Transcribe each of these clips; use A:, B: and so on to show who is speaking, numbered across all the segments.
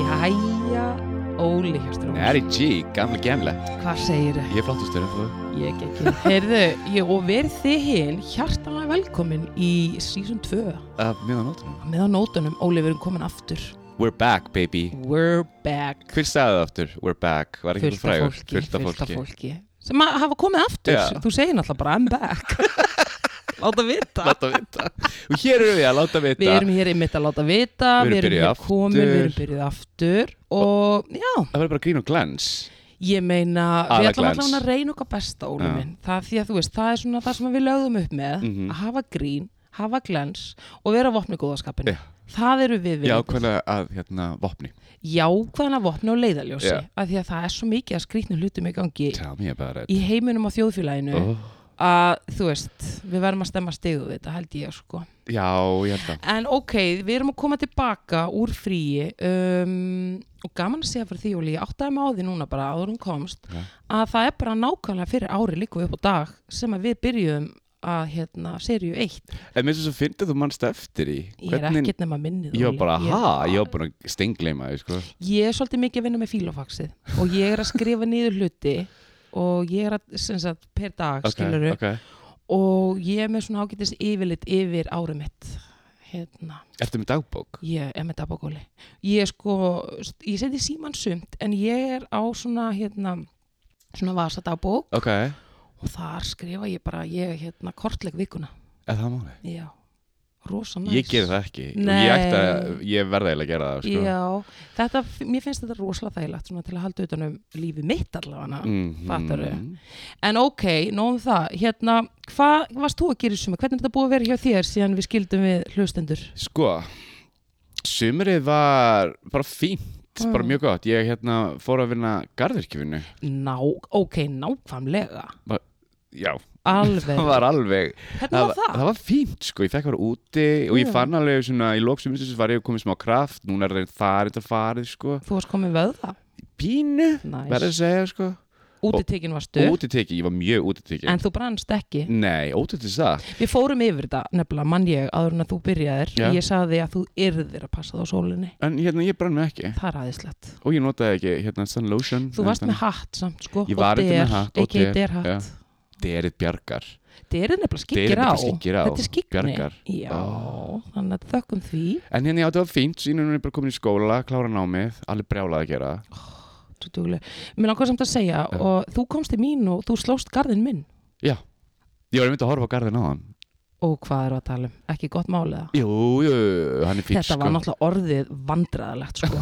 A: Jæja, Óli Hjástrón
B: Ari G, gamla gemla
A: Hvað segir þau?
B: Ég er flottastur en þú
A: Ég ekki Heyrðu, ég, og verð þið hinn hjartanlega velkomin í season 2
B: Af mjög á nótunum
A: með á nótunum, Óli, við erum komin aftur
B: We're back baby
A: We're back
B: Hver sagði það aftur? We're back Var ekki
A: Fullt
B: þú frægur?
A: af fólki, fullt af fólki sem að hafa komið aftur,
B: Já.
A: þú segir náttúrulega bara I'm back Láta vita
B: Láta vita Og hér erum við að láta vita
A: Við erum hér einmitt að láta vita, við
B: Við erum
A: erum
B: byrjuð
A: hér komin, við erum
B: aftur.
A: byrjuð aftur og já,
B: Það verður bara grín og glans
A: ég meina, við
B: Aðra
A: ætlum
B: glans.
A: allavega að reyna okkar besta, Óli
B: Já. Mhm.
A: minn, það því að þú veist, það er svona það sem við lögðum upp með, að hafa grín, hafa glens og vera vopni góðaskapinu.
B: Já.
A: Það eru við við.
B: Já, hvernig að hérna vopni
A: Jákvæðan að vopna og leiðaljósi,
B: Já.
A: af því að það er svo mikið að skrýtnu hlutum í gangi
B: Tell me about it
A: í heiminum og þjóðfélaginu
B: oh.
A: að þú veist, við verðum að stemma stigu við þetta, held ég sko.
B: Já, ég held að
A: En ok, við erum að koma tilbaka úr fríi um, og gaman að segja fyrir því, Óli, ég áttaði mig á því núna bara áður hún komst,
B: Já.
A: að það er bara nákvæmlega fyrir ári líku upp á dag sem að við byrjuðum að hérna, seríu eitt.
B: En mér finnst þess að finna þú mannst eftir í
A: Ég er ekkert nema minnið,
B: Ég var
A: Óli.
B: bara,
A: Ég-
B: ha, ég var búin að stengleima því, sko.
A: Ég er svolítið mikið að vinna með fílofaxið og ég er að skrifa niður hluti og ég er að, sem sagt, per dag, okay, skiluru,
B: Ok,
A: og ég er með svona ágætis yfirlit yfir árum mitt, hérna.
B: ok. Ertu með dagbók?
A: Ég er með dabakóli. Ég er sko, ég seti síman sumt en ég er á svona, hérna, svona vasadabók
B: Ok, er
A: og þar skrifa ég bara, ég er hérna kortleg vikuna.
B: það máli?
A: Já, rosa næs.
B: Ég ger það ekki og
A: Nei.
B: ég, ætti að, ég verða eiginlega að gera það sko.
A: Já, þetta, mér finnst þetta rosalega þægilegt svona til að halda utan um lífið mitt allavega.
B: Mhm.
A: Fattarðu? En ok, nóðum það, hérna, hvað varst þú að gera í sumar? Hvernig er þetta búið að vera hjá þér síðan við skildum við hlustendur?
B: Sko Sumrið var bara fínt
A: Ah.
B: bara mjög gott, ég hérna fór að vinna garðirkjöfinu,
A: Ná, ok, nákvæmlega.
B: já
A: Alveg.
B: það var alveg,
A: Hvernig Eh. var það?
B: það var fínt sko, ég fekk að vera úti og ég
A: Já.
B: fann alveg svona, í lóksumins var ég komið smá kraft, núna er það það er þetta farið sko,
A: Þú varst komin vöða.
B: pínu
A: Næs.
B: verður að segja sko,
A: Útitekin varstu,
B: útiteki, ég var mjög útiteki
A: en þú brannst ekki.
B: nei, ótið til það,
A: Við fórum yfir þetta, nefnilega mann ég, áður en að þú byrjaðir.
B: Já.
A: Ég sagði að þú yrðir að passa það á sólinni.
B: en hérna ég brann mig ekki
A: Það er aðeinslegt.
B: og ég notaði ekki hérna sun lotion
A: Þú varst með hatt samt, sko.
B: Ég var
A: og
B: reyndar
A: der,
B: með hatt og
A: ekki
B: der, já.
A: derhatt.
B: derið bjargar
A: Derið nefnilega
B: Derið
A: skyggir á.
B: nefnilega skyggir á.
A: Þetta er skyggni.
B: Bjargar. Ah.
A: Já, þannig að þökkum því.
B: En hérna já, þetta var fínt, síðan er ég bara komin í skóla, klára námið, alveg brjálað að gera.
A: Þú dugleg. Mér langar samt að segja,
B: Já.
A: og þú komst í mín og þú slóst garðin minn.
B: Já, ég var einmitt að horfa á garðin á hann.
A: Og hvað eru að tala um? Ekki gott máliða.
B: Jú, jú, hann er sko. fínt,
A: Þetta var náttúrulega orðið vandræðalegt sko.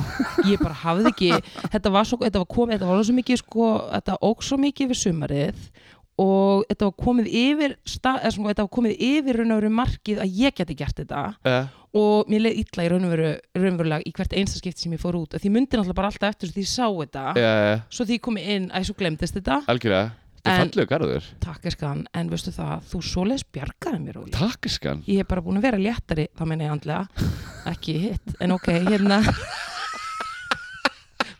A: Ég bara hafði ekki þetta var, svo, þetta var komið, þetta var alveg svo mikið sko, þetta óg svo mikið yfir sumarið og þetta var komið yfir sta, eða, svona, þetta var komið yfir raun og veru markið að ég geti gert þetta
B: Uh,
A: og mér leið illa í raun og veru raunverulega í hvert einsta skipti sem ég fór út Af því ég myndi náttúrulega bara alltaf eftir svo því ég sá þetta
B: uh,
A: svo því ég komið inn, æ, svo glemdist þetta
B: algjörlega, þetta er
A: En-
B: fallegu garður.
A: takk eskan, en veistu það, þú svoleiðis bjargaði mér Óli
B: Takkiskan.
A: ég hef bara búin að vera léttari þá meina ég andlega, ekki hitt en ok, hérna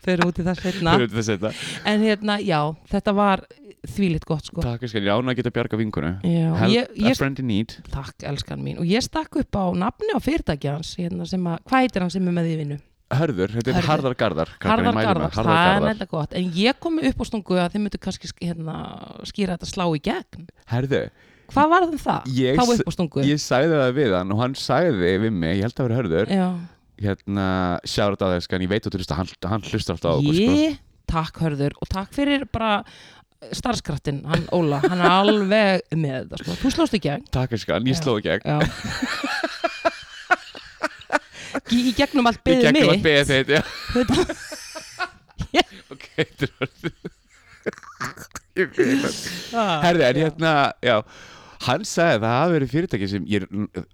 A: fyrir út í það setna
B: Fyrir þess að þetta.
A: en hérna, já, þetta var þvílitt gott sko
B: Takkiskan, ég ána að geta bjarga vinkunu.
A: já,
B: Help
A: ég, ég,
B: a friend in need.
A: takk elskan mín og ég stakk upp á nafni á fyrirtæki hans hérna sem að, hvað heitir hann sem er með því vinnu?
B: Hörður, þetta
A: Hörður.
B: er harðar garðar. krakkar, ég
A: Harðar
B: mæli með,
A: Garðar,
B: Harðar
A: það er
B: garðar.
A: nefnilega gott en ég kom með upp á stungu að þið myndu kannski sk- hérna, skýra þetta slá í gegn
B: Herðu,
A: hvað var það um það?
B: Ég
A: þá
B: s-
A: upp á stungu
B: ég sagði það við hann og hann sagði við mig, ég held að vera hörður,
A: já,
B: hérna, sjáður þetta á þess, en ég veit að þú hlusta, hann, hann hlusta alltaf á okkur, sko.
A: Ég, takk hörður og takk fyrir bara starfskrattinn, hann Óla, hann er alveg með þetta sko, þú slóst í gegn
B: Takkiskan, ég
A: Já.
B: sló ekki
A: Já Í, í gegnum allt
B: Ég
A: beðið
B: gekk
A: mitt
B: um að beðið þitt, já.
A: Þetta-
B: Ok, þetta er orðið.
A: Ah,
B: Herði, en hérna, já, hann sagði að það hafi verið fyrirtæki sem, ég,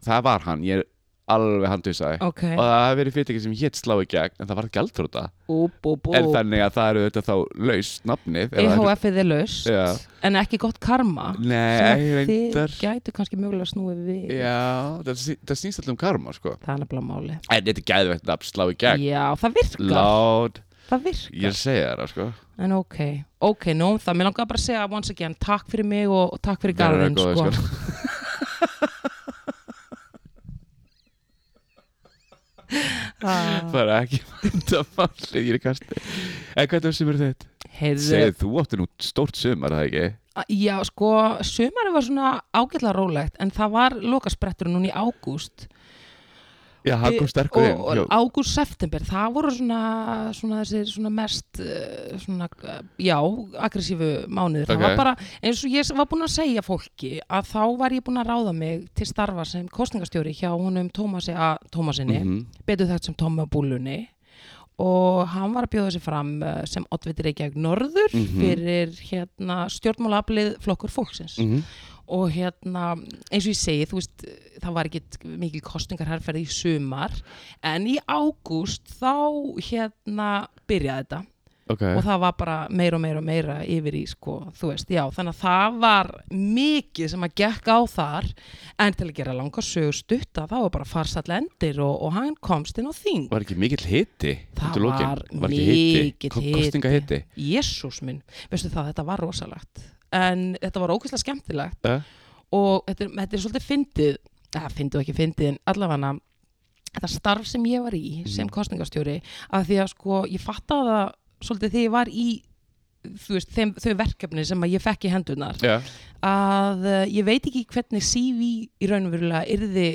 B: það var hann, ég er alveg handvisaði.
A: Ok,
B: Og það hafi verið fyrirtæki sem hétt slá í gegn, en það var gjaldrúta.
A: bú, bú, bú
B: En þannig að það eru þetta þá laust nafnið. eða einhver-
A: EHF-ið E er laust
B: Já.
A: en ekki gott karma
B: Nei,
A: sem að
B: reyndar.
A: Þið gætu kannski mögulega snúið við
B: Já, það, sný- það snýst alltaf um karma, sko.
A: Það er nefnilega máli
B: En þetta er gæðvegt nafn, slá í gegn.
A: Já, það virkar
B: Loud
A: það virkar
B: Ég segi þér það, sko
A: en ok, ok, nú um það mér langar bara að segja once again, takk fyrir mig og, og takk fyrir
B: Þeir eru
A: garðin sko.
B: góðir, sko.
A: Ah,
B: Það er ekki vandamálið Ég er í kasti En hvað er sumar þitt?
A: heyrðu,
B: Segðu, þú átti nú stórt sumar, er það ekki?
A: a- já sko sumari var svona ágætlega rólegt en það var lokasprettur núna í ágúst
B: Já, hann kom sterkur inn
A: og,
B: já.
A: og ágúst september, það voru svona, svona þessir svona mest eh, svona, eh, já, aggressífu mánuður,
B: Ok.
A: það var bara eins og ég var búin að segja fólki að þá var ég búin að ráða mig til starfa sem kostningastjóri hjá honum Tómasi A. Tómasinni,
B: Mhm.
A: betur þekkt sem Tómi á búlunni og hann var að bjóða sig fram eh, sem oddviti Reykjavík Norður
B: Mhm.
A: fyrir hérna stjórnmálaaflið flokkur fólksins
B: Mhm.
A: og hérna, eins og ég segi þú veist, það var ekkit mikil kostningarherrferð í sumar en í ágúst þá hérna byrjaði þetta
B: Ok
A: og það var bara meira og meira og meira yfir í sko, þú veist, já, þannig að það var mikið sem að gekk á þar en til að gera langa sögur stutta þá var bara farsall endir og, og hann komst inn á þing
B: Var ekki mikill hiti?
A: Það
B: undir lokin?
A: var
B: ekki hiti?
A: mikill
B: Ko-
A: hiti.
B: Kosningahiti?
A: Jésús minn, veistu það, þetta var rosalegt en þetta var ókvæslega skemmtilegt
B: Eh?
A: og þetta er, þetta er svolítið fyndið, eða fyndið og ekki fyndið en allavega þetta starf sem ég var í
B: Mm.
A: sem kostningastjóri að því að sko ég fattaði það svolítið þegar ég var í þú veist, þeim, þau verkefni sem að ég fekk í hendunar
B: Já,
A: að eh, ég veit ekki hvernig CV í raunverulega yrði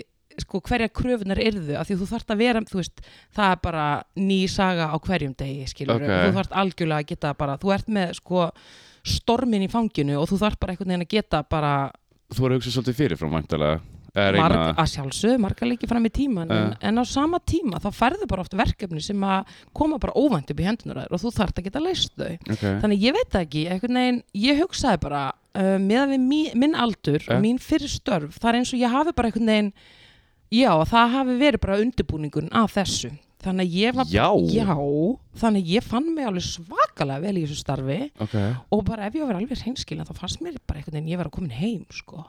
A: sko hverja kröfunar yrðu af því þú þarft að vera, þú veist, það er bara ný saga á hverjum degi, skilur
B: Ok.
A: þú þarft algjörlega að geta bara, þú ert með sko stormin í fanginu og þú þarft bara einhvern veginn að geta bara
B: þú voru að hugsa svolítið fyrirfram Eh, væntalega Eða
A: marg,
B: reyna að-
A: að sjálfsögðu marga leiki fram í tíman en, en á sama tíma þá færðu bara oft verkefni sem að koma bara óvænt upp í hendunar þær og þú þarft að geta leist þau
B: okay.
A: þannig ég veit það ekki, einhvern veginn ég hugsaði bara, uh, með að við mí, minn aldur
B: Eh.
A: og mín fyrir störf, það er eins og ég hafi bara einhvern veginn já, það hafi verið bara undirbúningun að þessu, þannig að ég var
B: Já.
A: já þannig að ég fann mig alveg svakalega vel í þessu starfi
B: Ok,
A: og bara ef ég var alveg hreinskilin þá fannst mér bara einhvern veginn ég var að komin heim sko.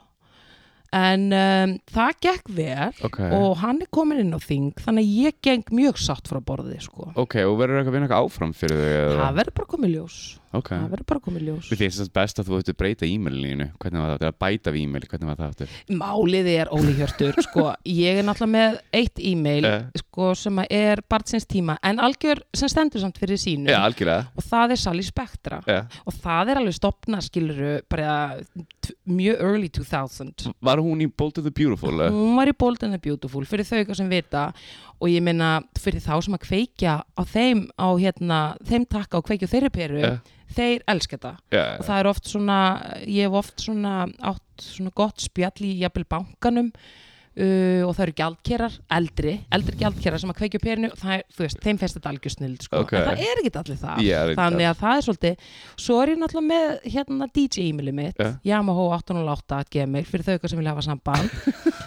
A: en um, það gekk vel
B: ok
A: og hann er komin inn á þing þannig að ég geng mjög satt frá borði sko.
B: Ok, og verður eitthvað að vinna eitthvað áfram fyrir þau? eða?
A: það verður bara komið ljós
B: Ok
A: það verður bara komið ljós
B: Við finnst þess best að þú ættu að breyta e-mailinu Hvernig var það aftur? Að bæta við e-mail, hvernig var það aftur?
A: Málið er Óli Hjörtur, sko, ég er náttúrulega með eitt e-mail,
B: Eh.
A: sko, sem að er barnsins tíma, en algjör sem stendur samt fyrir sínu
B: Já, algjörlega
A: og það er Sally Spectra
B: Já.
A: og það er alveg stopna, skiluru, bara eh, t- mjög early 2000.
B: Var hún í Bold of the Beautiful? eða?
A: Hún var í Bold and the Beautiful, fyrir þau eitthvað sem vita og ég meina fyrir þá sem að kveikja á þeim, á hérna, þeim takka og kveikja á þeirri peru,
B: Eh.
A: þeir elska þetta
B: Já,
A: og það er oft svona ég hef oft svona átt svona gott spjall í jafnvel bankanum uh, og það eru gjaldkerar eldri, eldri gjaldkerar sem að kveikja upp hérinu það er, þú veist, þeim finnst þetta algjör snild sko.
B: Ok.
A: en það er ekkit allir það
B: Já, reyndar.
A: þannig að það er svolítið svo er ég náttúrulega með hérna DJ e-mailið mitt
B: Já.
A: Yamaha 808 gmail fyrir þau eitthvað sem vilja hafa samband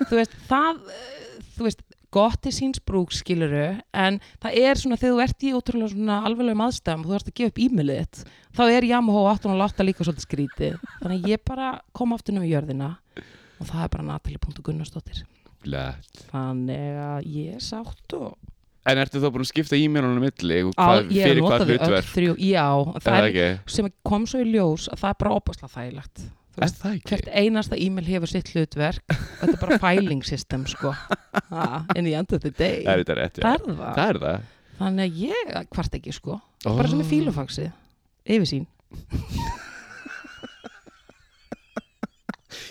A: þú veist, það eh, þú veist, gott til síns brúk skiluru en það er svona þegar þú ert í ótrúlega svona alveglegum aðstæðum og þú ert að gefa upp e-mailið þitt þá er Yamaha 808 líka svolítið skrítið þannig að ég bara kom aftur nú í jörðina og það er bara natalie.gunnarsdóttir
B: Lett.
A: þannig að ég er sátt og
B: En ertu þá búin að skipta e-mailunum milli og
A: Á,
B: hvað,
A: ég
B: fyrir hvað
A: notaði öll
B: hlutverk?
A: þrjú já,
B: Er
A: það
B: það
A: er,
B: ekki?
A: sem kom svo í ljós að það er bara opaslega þægilegt Þú
B: Er
A: veist,
B: það ekki?
A: hvert einasta e-mail hefur sitt hlutverk og þetta er bara filing system sko ha, en ég endur þetta
B: Það
A: deg
B: er þetta rétt, já.
A: það er það,
B: Það er það.
A: þannig að ég hvart ekki sko
B: Ó.
A: bara sem er fílufaxi, yfirsýn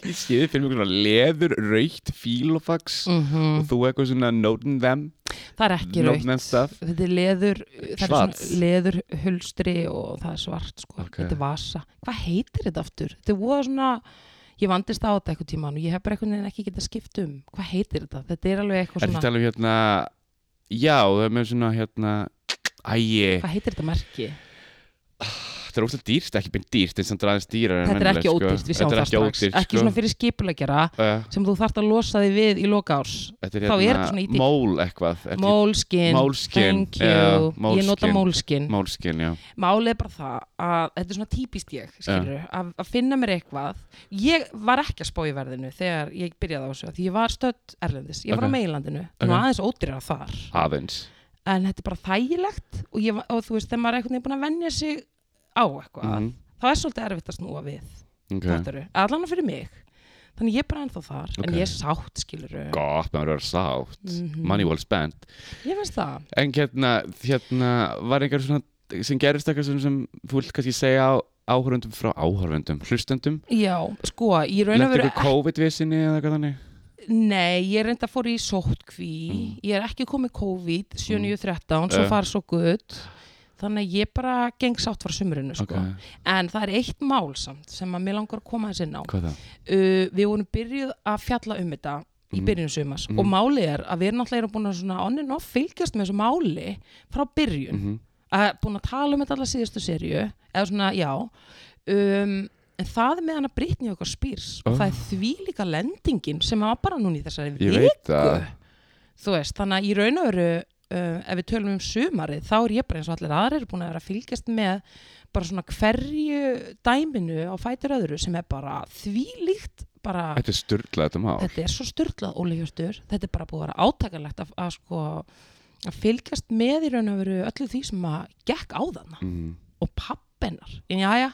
B: Ég skiði fyrir mig svona leður, raukt, fílofax
A: mm
B: og þú eitthvað svona noten them.
A: það er ekki
B: Not
A: raukt
B: nice stuff.
A: þetta er leður það er
B: Svart.
A: svona leður hulstri og það er svart sko,
B: Ok.
A: þetta er vasa hvað heitir þetta aftur? þetta er voða svona ég vandist á þetta eitthvað tíman og ég hef bara einhvern veginn ekki getað skipt um hvað heitir þetta? þetta er alveg eitthvað
B: Er
A: svona
B: þetta alveg hérna, já, það er með svona hérna, ægi,
A: hvað heitir þetta merki?
B: það er óslega dýrst, ekki beint dýrst, eins og það er aðeins dýrar en
A: þetta er
B: venjulegt,
A: ekki ódýrt, við sjáum
B: sko. Þetta er
A: það
B: ekki
A: strax
B: ódýrt,
A: ekki
B: sko.
A: svona fyrir skipulegjara
B: Uh,
A: sem þú þarft að losa þig við í loka árs
B: Þetta er
A: Þá er þetta
B: hérna,
A: svona í dýrt.
B: mól eitthvað, er ekki
A: Mólskin,
B: Moleskine,
A: thank you
B: já,
A: ég nota mólskin
B: Moleskine. mólskinn, já.
A: Málið er bara það að þetta er svona típist ég, skilur, að, að finna mér eitthvað. Ég var ekki að spá í verðinu þegar ég byrjaði á þessu, því ég var stödd erlendis, ég var
B: Ok.
A: á meilandinu, okay. nú
B: Ok.
A: aðeins ódýrar þar,
B: Aðeins.
A: en þetta er bara þægilegt og, ég, og þú veist, þegar maður er einhvern veginn búin að venja sig á eitthvað,
B: Mhm.
A: þá er svolítið erfitt að snúa við
B: ok,
A: okay. allan fyrir mig þannig ég er bara ennþá þar, en
B: Ok.
A: ég er sátt skiluru,
B: gott, maður verður sátt
A: Mhm.
B: money well spent
A: ég finnst það
B: en hérna, hérna var einhver svona sem gerist eitthvað sem, sem þú vilt kannski segja á áhörundum frá áhörundum, hlustendum
A: já, sko, í raun og
B: Lentu
A: veru
B: ykkur COVID-vissinni eða eitthvað þannig
A: nei, ég er enda fór í sóttkví ég er ekki komið COVID 7.13, svo
B: Mm. Eh.
A: far svo gutt þannig að ég bara geng sátt var sumurinu sko.
B: Ok,
A: en það er eitt mál samt sem að mér langar að koma þess inn á
B: hvað það?
A: uh, við vorum byrjuð að fjalla um þetta í
B: Mhm.
A: byrjunum sumas
B: Mhm.
A: og málið er að við erum náttúrulega búin að svona on and off fylgjast með þessu máli frá byrjun,
B: Mm -hmm.
A: að búin að tala um þetta alla síðustu serju, eða svona já um, en það með hana Brittany okkar spýrs
B: Oh.
A: og það er því líka lendingin sem var bara núna í þessari
B: Ég
A: viku
B: veit að
A: þú veist, þannig að í raun og veru uh, ef við tölum um sumarið, þá er ég bara eins og allir aðrir búin að vera að fylgjast með bara svona hverju dæminu á fætur öðru sem er bara þvílíkt bara,
B: þetta er styrlað þetta mál
A: þetta er svo styrlað Óli Hjörtur, þetta er bara búið að vera átakalegt að, að sko að fylgjast með í raun og veru öllu því sem að gekk á þarna
B: mm.
A: og pappennar, en jæja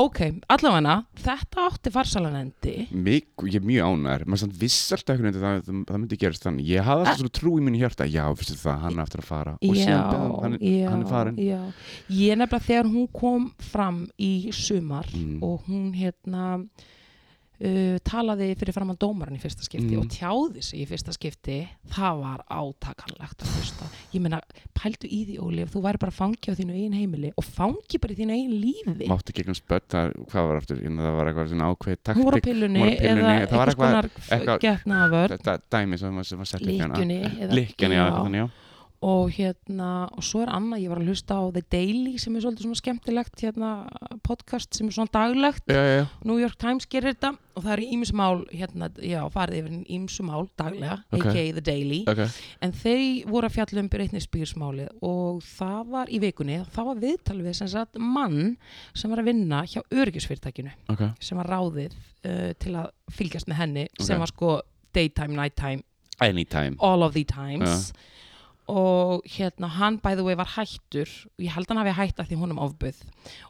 A: ok, allavega þetta átti farsalanendi
B: Mig, ég er mjög ánæður, maður samt viss alltaf einhvern veginn að það, það, það myndi gerast þannig ég hafði alltaf svona trú í mínu hjarta, já, fyrstu það hann er aftur að fara og síðan beðum, hann,
A: já,
B: hann er farin
A: já. ég nefnilega þegar hún kom fram í sumar
B: Mm.
A: og hún hérna uh, talaði fyrir fram að dómaran í fyrsta skipti
B: Mm.
A: og tjáði sig í fyrsta skipti það var átakanlegt að hlusta ég meina, pældu í því Óli ef þú væri bara fangi á þínu eigin heimili og fangi bara í þínu eigin lífi
B: mátti gegnum spött, það- hvað var aftur Hérna, það var eitthvað svona ákveð
A: hún var á
B: taktik
A: pillunni,
B: hún var á pillunni,
A: eða
B: það var
A: eitthvað
B: eitthvað-
A: skonar
B: eitthvað-
A: getnaðavörn
B: þetta dæmi sem var, sem var sett ekki hana
A: líkjunni eða-
B: Likkjan, já, þannig já
A: og hérna, og svo er annað, ég var að hlusta á The Daily sem er svolítið svona skemmtilegt hérna, podcast sem er svona daglegt
B: Já, já, já,
A: New York Times gerir þetta og það er ímsmál, hérna, já, farið yfir ímsumál daglega,
B: Ok.
A: aka The Daily
B: ok
A: en þeir voru að fjalla um Britney Spears málið og það var í vikunni það var viðtal við sem sagt mann sem var að vinna hjá öryggisfyrirtækinu
B: Ok,
A: sem var ráðið uh, til að fylgjast með henni
B: Ok.
A: sem var sko daytime, nighttime
B: anytime
A: all of the times og hérna hann bæði og var hættur og ég held hann hafi hætt að því honum ofbuð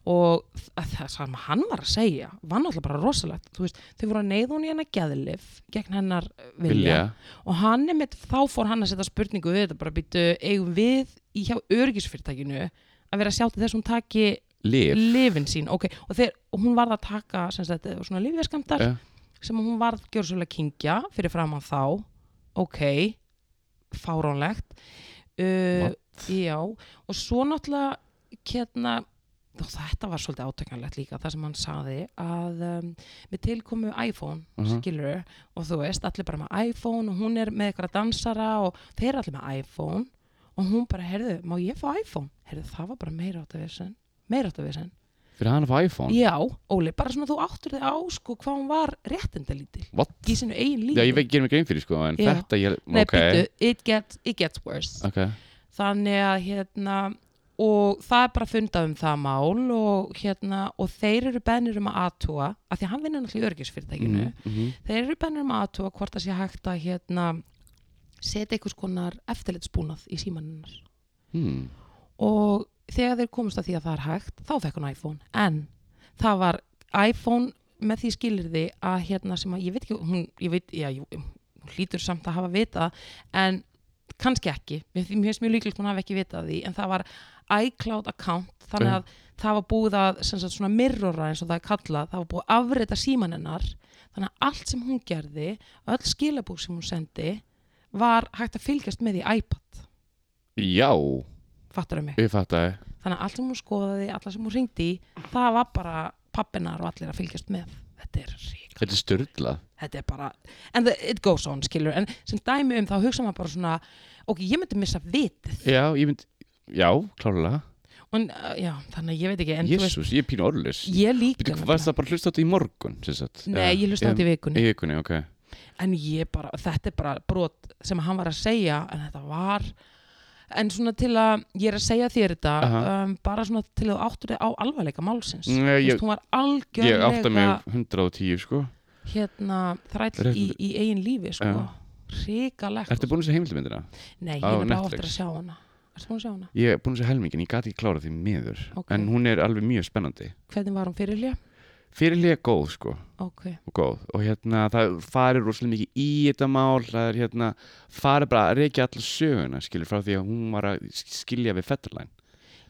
A: og þ- að það sem hann var að segja var náttúrulega bara rosalegt þú veist, þau voru að neyða hún í hennar geðlif gegn hennar eh, vilja
B: Vilja,
A: og hann er mitt, þá fór hann að setja spurningu við þetta bara býtu, eigum við í hjá öryggisfyrirtækinu að vera að sjá til þess að hún taki
B: liv
A: lifin sín okay. og, þeir, og hún varð að taka sem sagt, svona lifjaskamtar
B: Já.
A: sem hún varð gjörsölega kingja fyrir fram að þá ok, fáránlegt uh, já og svo náttúrulega hérna, og þetta var svolítið átökanlegt líka það sem hann saði að um, með tilkomu iPhone uh
B: Mhm.
A: og þú veist, allir bara með iPhone og hún er með eitthvað dansara og þeir eru allir með iPhone og hún bara, heyrðu, má ég fá iPhone? heyrðu, það var bara meira átt að vesen meira átt að vesen
B: Fyrir hann að fá iPhone
A: Já, Óli, bara svona þú áttur þig á sko hvað hún var réttindalítil
B: What?
A: í sinu eigin lífi
B: Já, ég veit ekki mér grein fyrir sko En
A: Já.
B: þetta ég,
A: Nei,
B: ok
A: býttu, it, get, it gets worse
B: Ok,
A: Þannig að hérna og það er bara fundað um það mál og hérna, og þeir eru bennir um að aðtúa, af því að hann vinnur náttúrulega í örgisfyrirtækinu,
B: Mhm, mhm.
A: þeir eru bennir um að aðtúa hvort það sé hægt að hérna setja einhvers konar eftirlitsbúnað í símaninnar
B: Hmm.
A: og þegar þeir komust að því að það er hægt þá fekk hún iPhone en það var iPhone með því skilirði að hérna sem að ég veit ekki hún, ég veit, já, jú, hún hlýtur samt að hafa vitað en kannski ekki, mér mér finnst mjög líklegt hún hafi ekki vitað því en það var iCloud account þannig að það var búið að sem sagt, svona mirrora eins og það er kallað það var búið að afreita síman hennar þannig að allt sem hún gerði öll skilabúr sem hún sendi var hægt að fylgjast með í iPad
B: Já,
A: fattar mig
B: ég fatt að
A: þannig að allt sem hún skoðaði, alla sem hún ringdi í það var bara pappinar og allir að fylgjast með þetta er rík
B: Þetta er styrlað
A: þetta er bara, and the, it goes on skilur, en sem dæmi um þá hugsa maður bara svona ok, ég myndi missa vitið
B: Já, ég mynd Já, klárlega
A: en, uh, já, þannig að ég veit ekki, en þú veist
B: Jésús, ég er pínu orðlis
A: ég líka
B: Býtu,
A: nefnilega.
B: varst það Eh, bara að hlusta á þetta í morgun, sem sagt?
A: nei, ég hlusta á þetta í vikunni
B: Í vikunni, ok eh.
A: en ég bara, þetta er bara brot sem hann var að segja, en þetta var en svona til að ég er að segja þér þetta,
B: Aha.
A: um, bara svona til að þú áttur þig á alvarleika málsins
B: Nei,
A: Þú
B: ég-
A: veist, hún var
B: Ég
A: algjörlega
B: átta mig um 110, sko
A: hérna þræll í,
B: Rétt-
A: í eigin lífi sko.
B: Já.
A: hrikalegt
B: Ertu búin að segja heimildamindina?
A: nei, ég
B: á
A: er bara
B: Netflix?
A: áttur að sjá hana Ertu búin að sjá hana?
B: Ég er búin að segja helmingin, ég gati ekki klára því miður
A: Ok.
B: En hún er alveg mjög spennandi
A: Hvernig var hún fyrirlja?
B: Fyrirlega góð sko
A: Ok,
B: og góð og hérna það farir rosalega mikið í þetta mál það er hérna, farir bara að reykja allar söguna skilur frá því að hún var að skilja við Fetterlæn,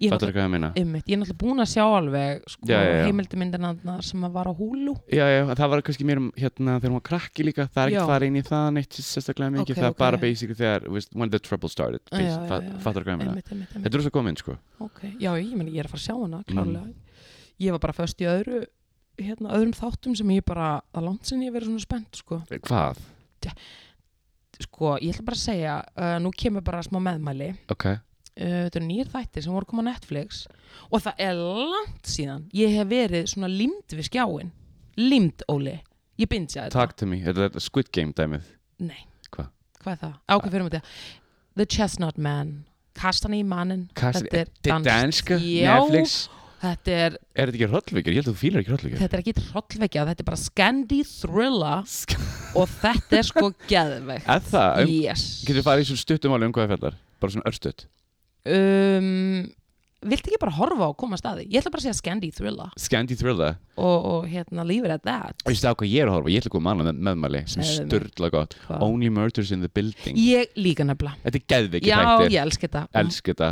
A: ég er
B: fattur
A: náttúrulega
B: hvað ég meina
A: Einmitt. Ég er náttúrulega búin að sjá alveg sko,
B: Já, já, já.
A: heimildamyndina sem að var á húlu
B: já, já, en það var kannski meira um, hérna þegar hún var krakki líka, það
A: Já.
B: er ekki farið inn í það neitt sérstaklega mikið,
A: Ok,
B: það er
A: ok.
B: bara basically þegar, þú veist, when the trouble started
A: Já, já, já, já.
B: fattur hvað ég meina,
A: einmitt, einmitt, einmitt.
B: þetta Mm. er rosa góð mynd sko
A: Ok, Já, ég, meni, ég er að fara að sjá hana klárlega. Ég var bara föst í öðru hérna, öðrum þáttum sem ég bara að landsinni ég verið svona spennt sko.
B: hvað,
A: sko, ég ætla bara að segja uh, nú kemur bara smá meðmæli
B: ok,
A: uh, þetta eru nýjir þættir sem voru að koma á Netflix og það er langt síðan ég hef verið svona limd við skjáin limd, Óli, ég bindja þetta
B: talk to me þetta er þetta Squid Game dæmið,
A: Nei,
B: Hva?
A: hvað er það? Á, ok, fyrir um þetta The Chestnut Man, Kastan í mannin
B: Kastan-
A: Þetta er
B: þetta er
A: danskt.
B: danska,
A: Já,
B: Netflix
A: þetta er,
B: er þetta ekki hrollvíkjur, ég held að þú fílar ekki hrollvíkjur
A: þetta er ekki trollvekja þetta er bara Scandi Thriller og þetta er sko geðveikt
B: er það, um,
A: Yes
B: getur farið í svona stuttumáli um hvað það fjallar, bara svona örstutt
A: um, Viltu ekki bara horfa á koma staði? Ég ætla bara að segja Scandi Thriller
B: Scandi Thriller
A: og, og hérna Leave it at that
B: Þú veist það hvað ég er að horfa, ég ætla að koma annað með, meðmæli sem er
A: Segðu mér.
B: störla gott
A: Hvað?
B: Only Murders in the Building
A: Sko. Ég líka nefnilega
B: Þetta er geðvikið
A: Já,
B: hættir
A: ég elska þetta Mm.
B: Elsku þetta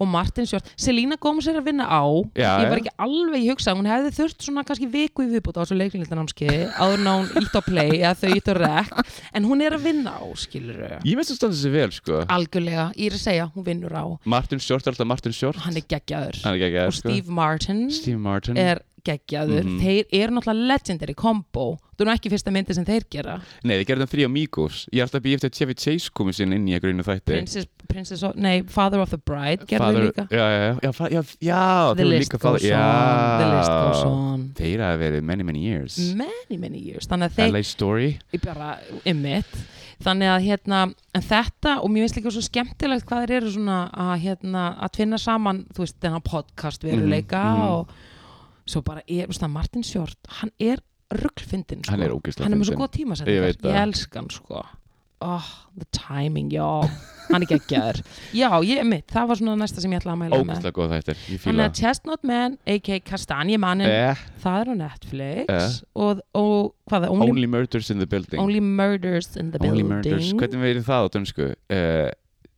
A: og Martin Sjórn Selina Gómez er að vinna á
B: Já,
A: ég var
B: já.
A: ekki alveg í hugsa hún hefði þurft svona kannski viku í viðbúta á þessu leiklindanámskeiði áður en hún ítt á play eða þau ítt á rec en hún er að vinna á skilur
B: Ég veist að standa þessi vel sko
A: Ah. algjörlega, ég er að segja hún vinnur á
B: Martin Short er alltaf Martin Short
A: hann er geggjaður
B: Hann er ekki
A: og Steve Martin
B: Steve Martin
A: er geggjaður
B: Mhm.
A: þeir eru náttúrulega legendary combo það er nú ekki fyrsta myndi sem þeir gera
B: Nei, þið gerðum þrjá Migos Ég er alltaf að býja eftir að Chevy Chase komið sinn inn í að grunna þætti
A: Princess, Princess of, nei, Father of the Bride gerðu Father,
B: Father-
A: líka
B: Já, já, já, já, fa- já, já
A: The
B: þeir voru
A: List
B: líka
A: Goes
B: father-
A: On The List Goes On
B: Þeir hafa verið many, many years
A: many, many years þannig að þeir
B: LA Story
A: ég bara ymmit þannig að hérna, en þetta og mér finnst líka svo skemmtilegt hvað þeir eru svona að hérna, að tvinna saman þú veist, þennan podcast veruleika
B: Mhm, mhm.
A: og svo bara, ég, veist það, Martin Short hann er rugglfyndin sko.
B: Hann er ógeðslega
A: hann er með svo
B: fyndinn.
A: góð tíma
B: Ég
A: ég,
B: veit það.
A: ég elska hann sko oh, the timing, já hann er geggjaður, já, ég ymmit það var svona næsta sem ég ætlaði að mæla með
B: Ógæslega góð þættir Ég
A: Þannig
B: fíla
A: að Chestnut Man, a.k.a. Kastanjemanin,
B: Eh,
A: það er á Netflix
B: Eh.
A: og, og hvað er, Only
B: Only Murders in the Building
A: Only Murders in the
B: Only
A: Building
B: Murders, hvernig verið það á dönsku? Uh,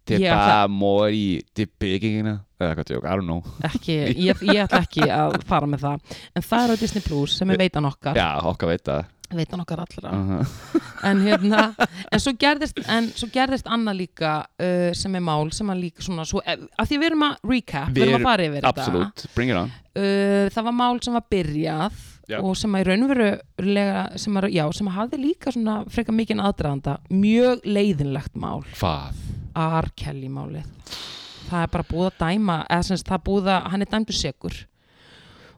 B: det er
A: Ég ætla-
B: bare mor í det er byggingina eða hvað tjók, I don't know
A: ekki, ég, ég ætla ekki að fara með það en það er á Disney Plus sem er veitan okkar
B: Eh, Já, okkar veit það
A: veitan okkar allra
B: uh
A: en, hérna, en, svo gerðist, en svo gerðist annað líka uh, sem er mál sem að líka svona svo, að því við erum að recap, við
B: Við
A: erum
B: erum-
A: að fara yfir þetta
B: Absolutt, bring it on
A: uh, það var mál sem var byrjað
B: Já.
A: og sem að í raunverulega sem að, já, sem að hafði líka svona freka mikinn aðdraðanda, mjög leiðinlegt mál
B: Hvað?
A: R. Kelly málið það er bara búið að dæma eða sem sagt, það er búið að, hann er dæmdur segur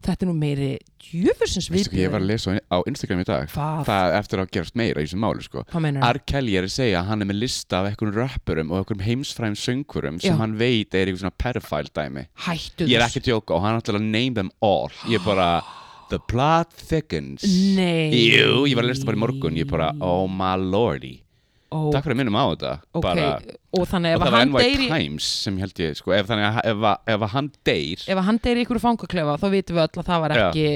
A: þetta er nú meiri djöfusins
B: Veistu hvað ég var að
A: viðbjöður
B: lesa á Instagram í dag
A: hvað,
B: Það eftir að gerast meira í þessum máli sko
A: hvað meinar
B: R. Kelly er að segja að hann er með lista af einhverjum rappurum og einhverjum heimsfræðum söngurum sem
A: Já.
B: hann veit er einhver svona pedophile dæmi
A: hættu
B: Ég er
A: þessu.
B: ekki að tjóka og hann ætlar að name them all Ég er bara, the plot thickens
A: nei
B: Jú, ég var að lesa bara í morgun, ég bara, oh my lordy
A: Ó,
B: Takk fyrir að minnum á þetta
A: ok,
B: bara,
A: og þannig ef
B: Og það
A: að
B: var
A: hann
B: NY
A: deyri
B: Times sem held ég sko, ef, þannig, að- ef, að- ef að hann deyr
A: ef að hann deyri í ykkur fangaklefa þá vitum við öll að það var
B: Já.
A: ekki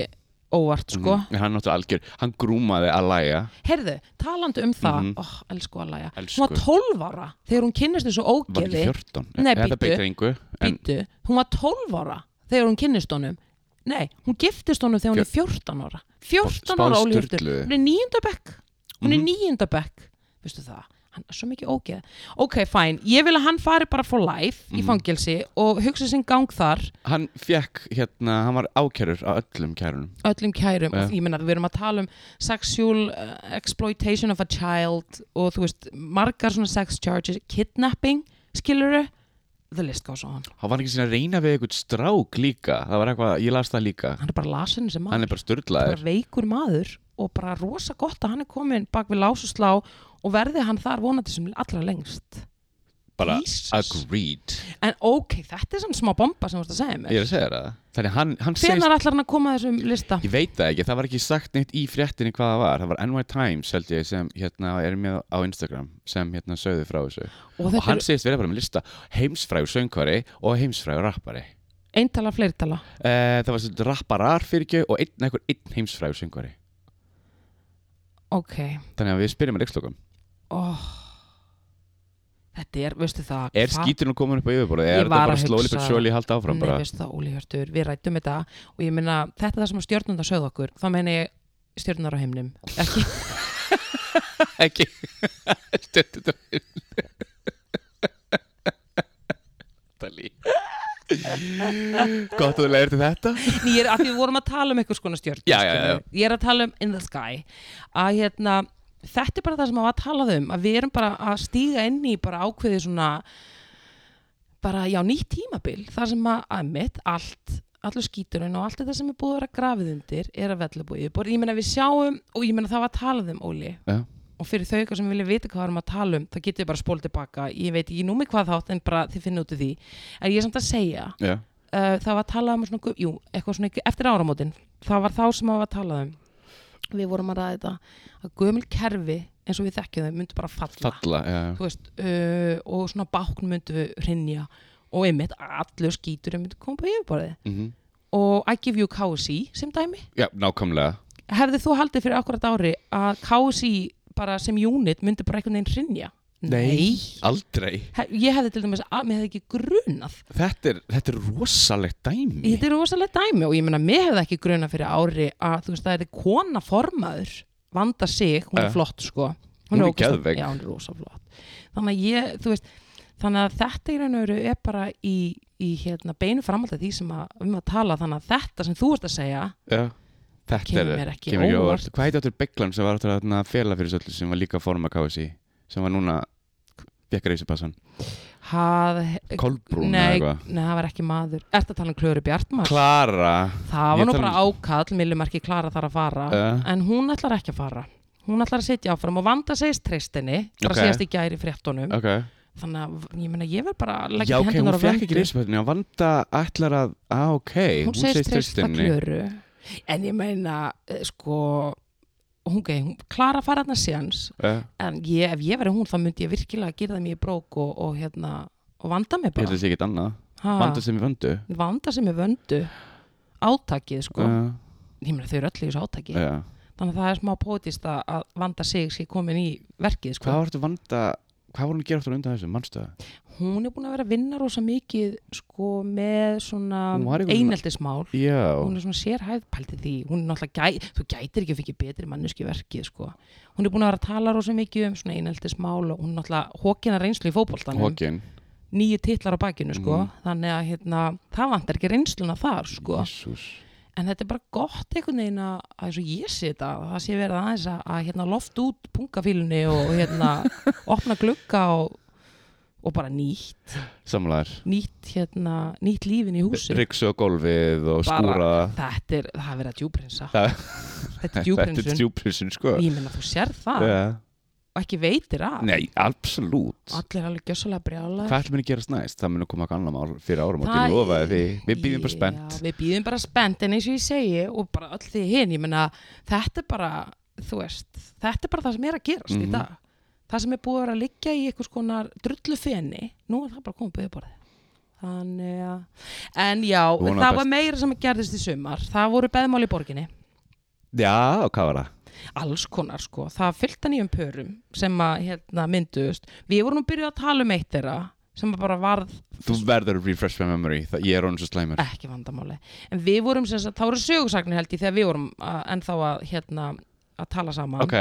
A: óvart sko
B: Mhm, en Hann náttúrulega algjör, hann grúmaði að læja
A: Heyrðu, talandi um það, mm
B: Mhm.
A: elsku Alaja,
B: Elsku.
A: hún var 12 ára þegar hún kynnist þessu
B: Var
A: ógeði
B: ekki 14
A: Nei,
B: Þetta
A: bíddu.
B: beitir engu en,
A: Býtu, hún var 12 ára þegar hún kynnist honum Nei, hún giftist honum þegar hún er 14 ára 14 ára
B: Spáð
A: ólíftur
B: sturluðu.
A: Hún er nýjunda bekk Hún er
B: Mhm.
A: nýjunda bekk Vistu það, hann er svo mikið ógeð Ok, fæn, ég vil að hann fari bara for life
B: Mhm.
A: í fangelsi og hugsa sinn gang þar
B: Hann fekk, hérna, hann var ákerur á öllum kærunum
A: öllum kærum
B: Ja.
A: og ég meina við erum að tala um sexual uh, exploitation of a child og þú veist, margar svona sex charges kidnapping, skiluru the list goes on,
B: Hann var ekki sinna að reyna við einhvern strák líka Það var eitthvað, ég las það líka
A: hann er bara lasin sem
B: Hann er bara störlaður
A: bara veikur maður og bara rosa gott að hann er komin bak við lásuslá og verði hann þar vonandi sem allra lengst
B: bara
A: Jesus.
B: agreed
A: En ok, þetta er samt smá bomba sem þú ert að segja
B: ég er
A: mér.
B: að segja þér það þannig hann, hann segist,
A: Hvenar ætlar hann að koma að þessum lista?
B: ég veit það ekki, það var ekki sagt neitt í fréttinni hvað það var, það var NY Times held ég sem hérna er með á Instagram sem hérna sögðu frá þessu
A: Og
B: og
A: þetta
B: hann
A: er
B: segist verið bara með lista heimsfrægur söngvari og heimsfrægur rappari
A: eintala fleirtala.
B: Uh, það var svolítið rapparar fyrir ekki og einn, einhver einn heimsfrægur söngvari
A: Ok,
B: Þannig að við spyrjum að leikslokum
A: oh. Þetta er, veistu það,
B: Er
A: hvað-
B: skíturinn komin upp á yfirborðið?
A: Ég
B: Er þetta
A: var
B: bara
A: að
B: slóli
A: hugsa-
B: but surely halda áfram bara?
A: Nei, veistu það, Óli Hjörtur, við rættum þetta og ég meina, þetta er það sem stjórnundar sögðu okkur, þá meina ég stjórnunar á heimnum, ekki
B: Ekki Stjórnir Þetta lí Gott að þú leiðir til þetta
A: Ný, ég er, af því við vorum að tala um eitthvað skona stjórn
B: Já, já, já.
A: ég er að tala um in the sky að hérna, þetta er bara það sem að var að tala um, að við erum bara að stíga inn í bara ákveðið svona bara, já, nýtt tímabil þar sem að, að mitt, allt allur skíturinn og allt þetta sem er búið að vera grafið undir er að vella búið yfirbor, ég meina við sjáum og ég meina það var að tala um, Óli
B: Já.
A: og fyrir þau ykkar sem vilja vita hvað við erum að tala um þá getið þið bara spól tilbaka, ég veit ekki númi hvað þátt en bara þið finna út úr því en ég er samt að segja
B: Já,
A: uh, það var að tala um svona, gu- jú, eitthvað svona ekki- eftir áramótin, það var þá sem það var að tala um við vorum að ræða þetta að gömul kerfi eins og við þekkjum þau myndu bara falla,
B: falla já.
A: Þú Veist, uh, og svona bákn myndu við hrynja og einmitt allur skítur myndu koma på yfirborðið
B: Mhm.
A: og I give you KSI sem dæmi
B: já, nákvæmlega
A: hefði þú haldið fyrir akkurat ári að KSI bara sem unit myndi bara einhvern veginn hrynja
B: Aldrei
A: He, ég hefði til dæmis að mér hefði ekki grunað
B: Þetta er, þetta er rosalegt dæmi
A: þetta er rosalega dæmi og ég meina mér hefði ekki gruna fyrir ári að þú veist það er kona formaður vanda sig, hún er
B: Ja.
A: flott sko
B: Hún er
A: ógeðslega-
B: geðveik.
A: já, hún er rosa flott þannig að ég, þú veist þannig að þetta í raun og veru er bara í, í hérna, beinu framhald af því sem að, um að tala þannig að þetta sem þú ert að segja
B: Já Þetta
A: Kemur
B: er,
A: mér ekki
B: á
A: óvart.
B: Hvað heitir áttur Beglan sem var áttur að þarna fela fyrir söllu sem var líka form að KSI sem var núna Bekkar Ísipassan
A: hað,
B: Kolbrún eða
A: nei,
B: eitthvað
A: nei, það var ekki maður ertu að tala um Klöru Bjartmar
B: Klara
A: það
B: Ég
A: var nú
B: tala um-
A: bara ákall, millumarki Klara þar að fara
B: uh,
A: en hún ætlar ekki að fara hún ætlar að sitja áfram og vanda segist treystinni bara
B: Ok.
A: okay. síðast í gæri fréttonum
B: Ok
A: þannig að ég meina ég verð bara að
B: Já
A: leggja
B: ok, hún
A: hendunar á
B: fekk ekki
A: vöndu
B: Ísipassan Já, vanda ætlar að Á ah, ok
A: hún segist treysta
B: tristinni.
A: klöru en ég meina eh, sko hún, okay, hún klara að fara þarna séans
B: Já,
A: en ég, ef ég verði hún þá myndi ég virkilega að gera það mér í brók og, og hérna og vanda mig
B: Ég held
A: bara Ah.
B: að sé ekkert annað
A: ha,
B: Vanda sem í vöndu
A: vanda sem er vöndu átakið sko
B: Já,
A: ég meina þau eru öll í þessu átaki
B: Eh, já
A: þannig að það er smá pótist að- að vanda sig sé komin í verkið sko
B: Hvað var þetta vanda Hvað voru hún að gera áttur undan þessu, manstu það?
A: hún er búin að vera að vinna rosa mikið sko með svona
B: Hún var einhvern veginn-
A: eineltismál
B: Já
A: hún er svona sérhæð pæltið því hún er náttúrulega, gæ, þú gætir ekki að fikið betri manneski verkið sko hún er búin að vera að tala rosa mikið um svona eineltismál og hún er náttúrulega hókina reynslu í fótboltanum
B: Hókin
A: nýju titlar á bakinu sko
B: Mhm.
A: þannig að hérna, það vantar ekki reynsluna þar sko
B: Jésús
A: en þetta er bara gott einhvern veginn að, að eins og ég sé þetta, að það sé verið aðeins að, að hérna, loft út punkafílunni og, og hérna, opna glugga og, og bara nýtt
B: Samlar
A: nýtt, hérna, nýtt lífin í húsi
B: Ryksu á gólfið og
A: Bara-
B: skúra það
A: þetta er, það er verið að djúprinsa
B: Það-
A: þetta er
B: Þetta er
A: djúprinsun
B: djúprinsun sko
A: ég menna þú sér það
B: yeah.
A: og ekki veitir af
B: Nei, absolutt
A: allir alveg gjössalega brjála
B: Hvað ætlum við að gerast næst? Það muni koma eitthvað annað mál fyrir árum og
A: Það-
B: ég lofa því Við býðum bara spennt
A: Já, við býðum bara spennt en eins og ég segi og bara öll því hinn, ég meina þetta er bara, þú veist, þetta er bara það sem er að gerast í
B: Mhm.
A: dag það sem er búið að vera að liggja í einhvers konar drullufeni, nú er það bara komið byggðið borðið þannig að en já,
B: Vonum
A: það
B: best.
A: var meira sem gerðist í sumar það voru beðmál í borginni
B: Já, og hvað var það?
A: alls konar sko, það fylgta nýjum pörum sem að hérna, mynduðust við vorum að byrja að tala um eitt þeirra sem að bara varð
B: Þú verður að refresh my memory Það, Ég er honum svo slæmur
A: ekki vandamáli en við vorum sem sagt, þá eru sögursagnir held ég þegar við vorum að, ennþá að hérna að tala saman
B: Ok,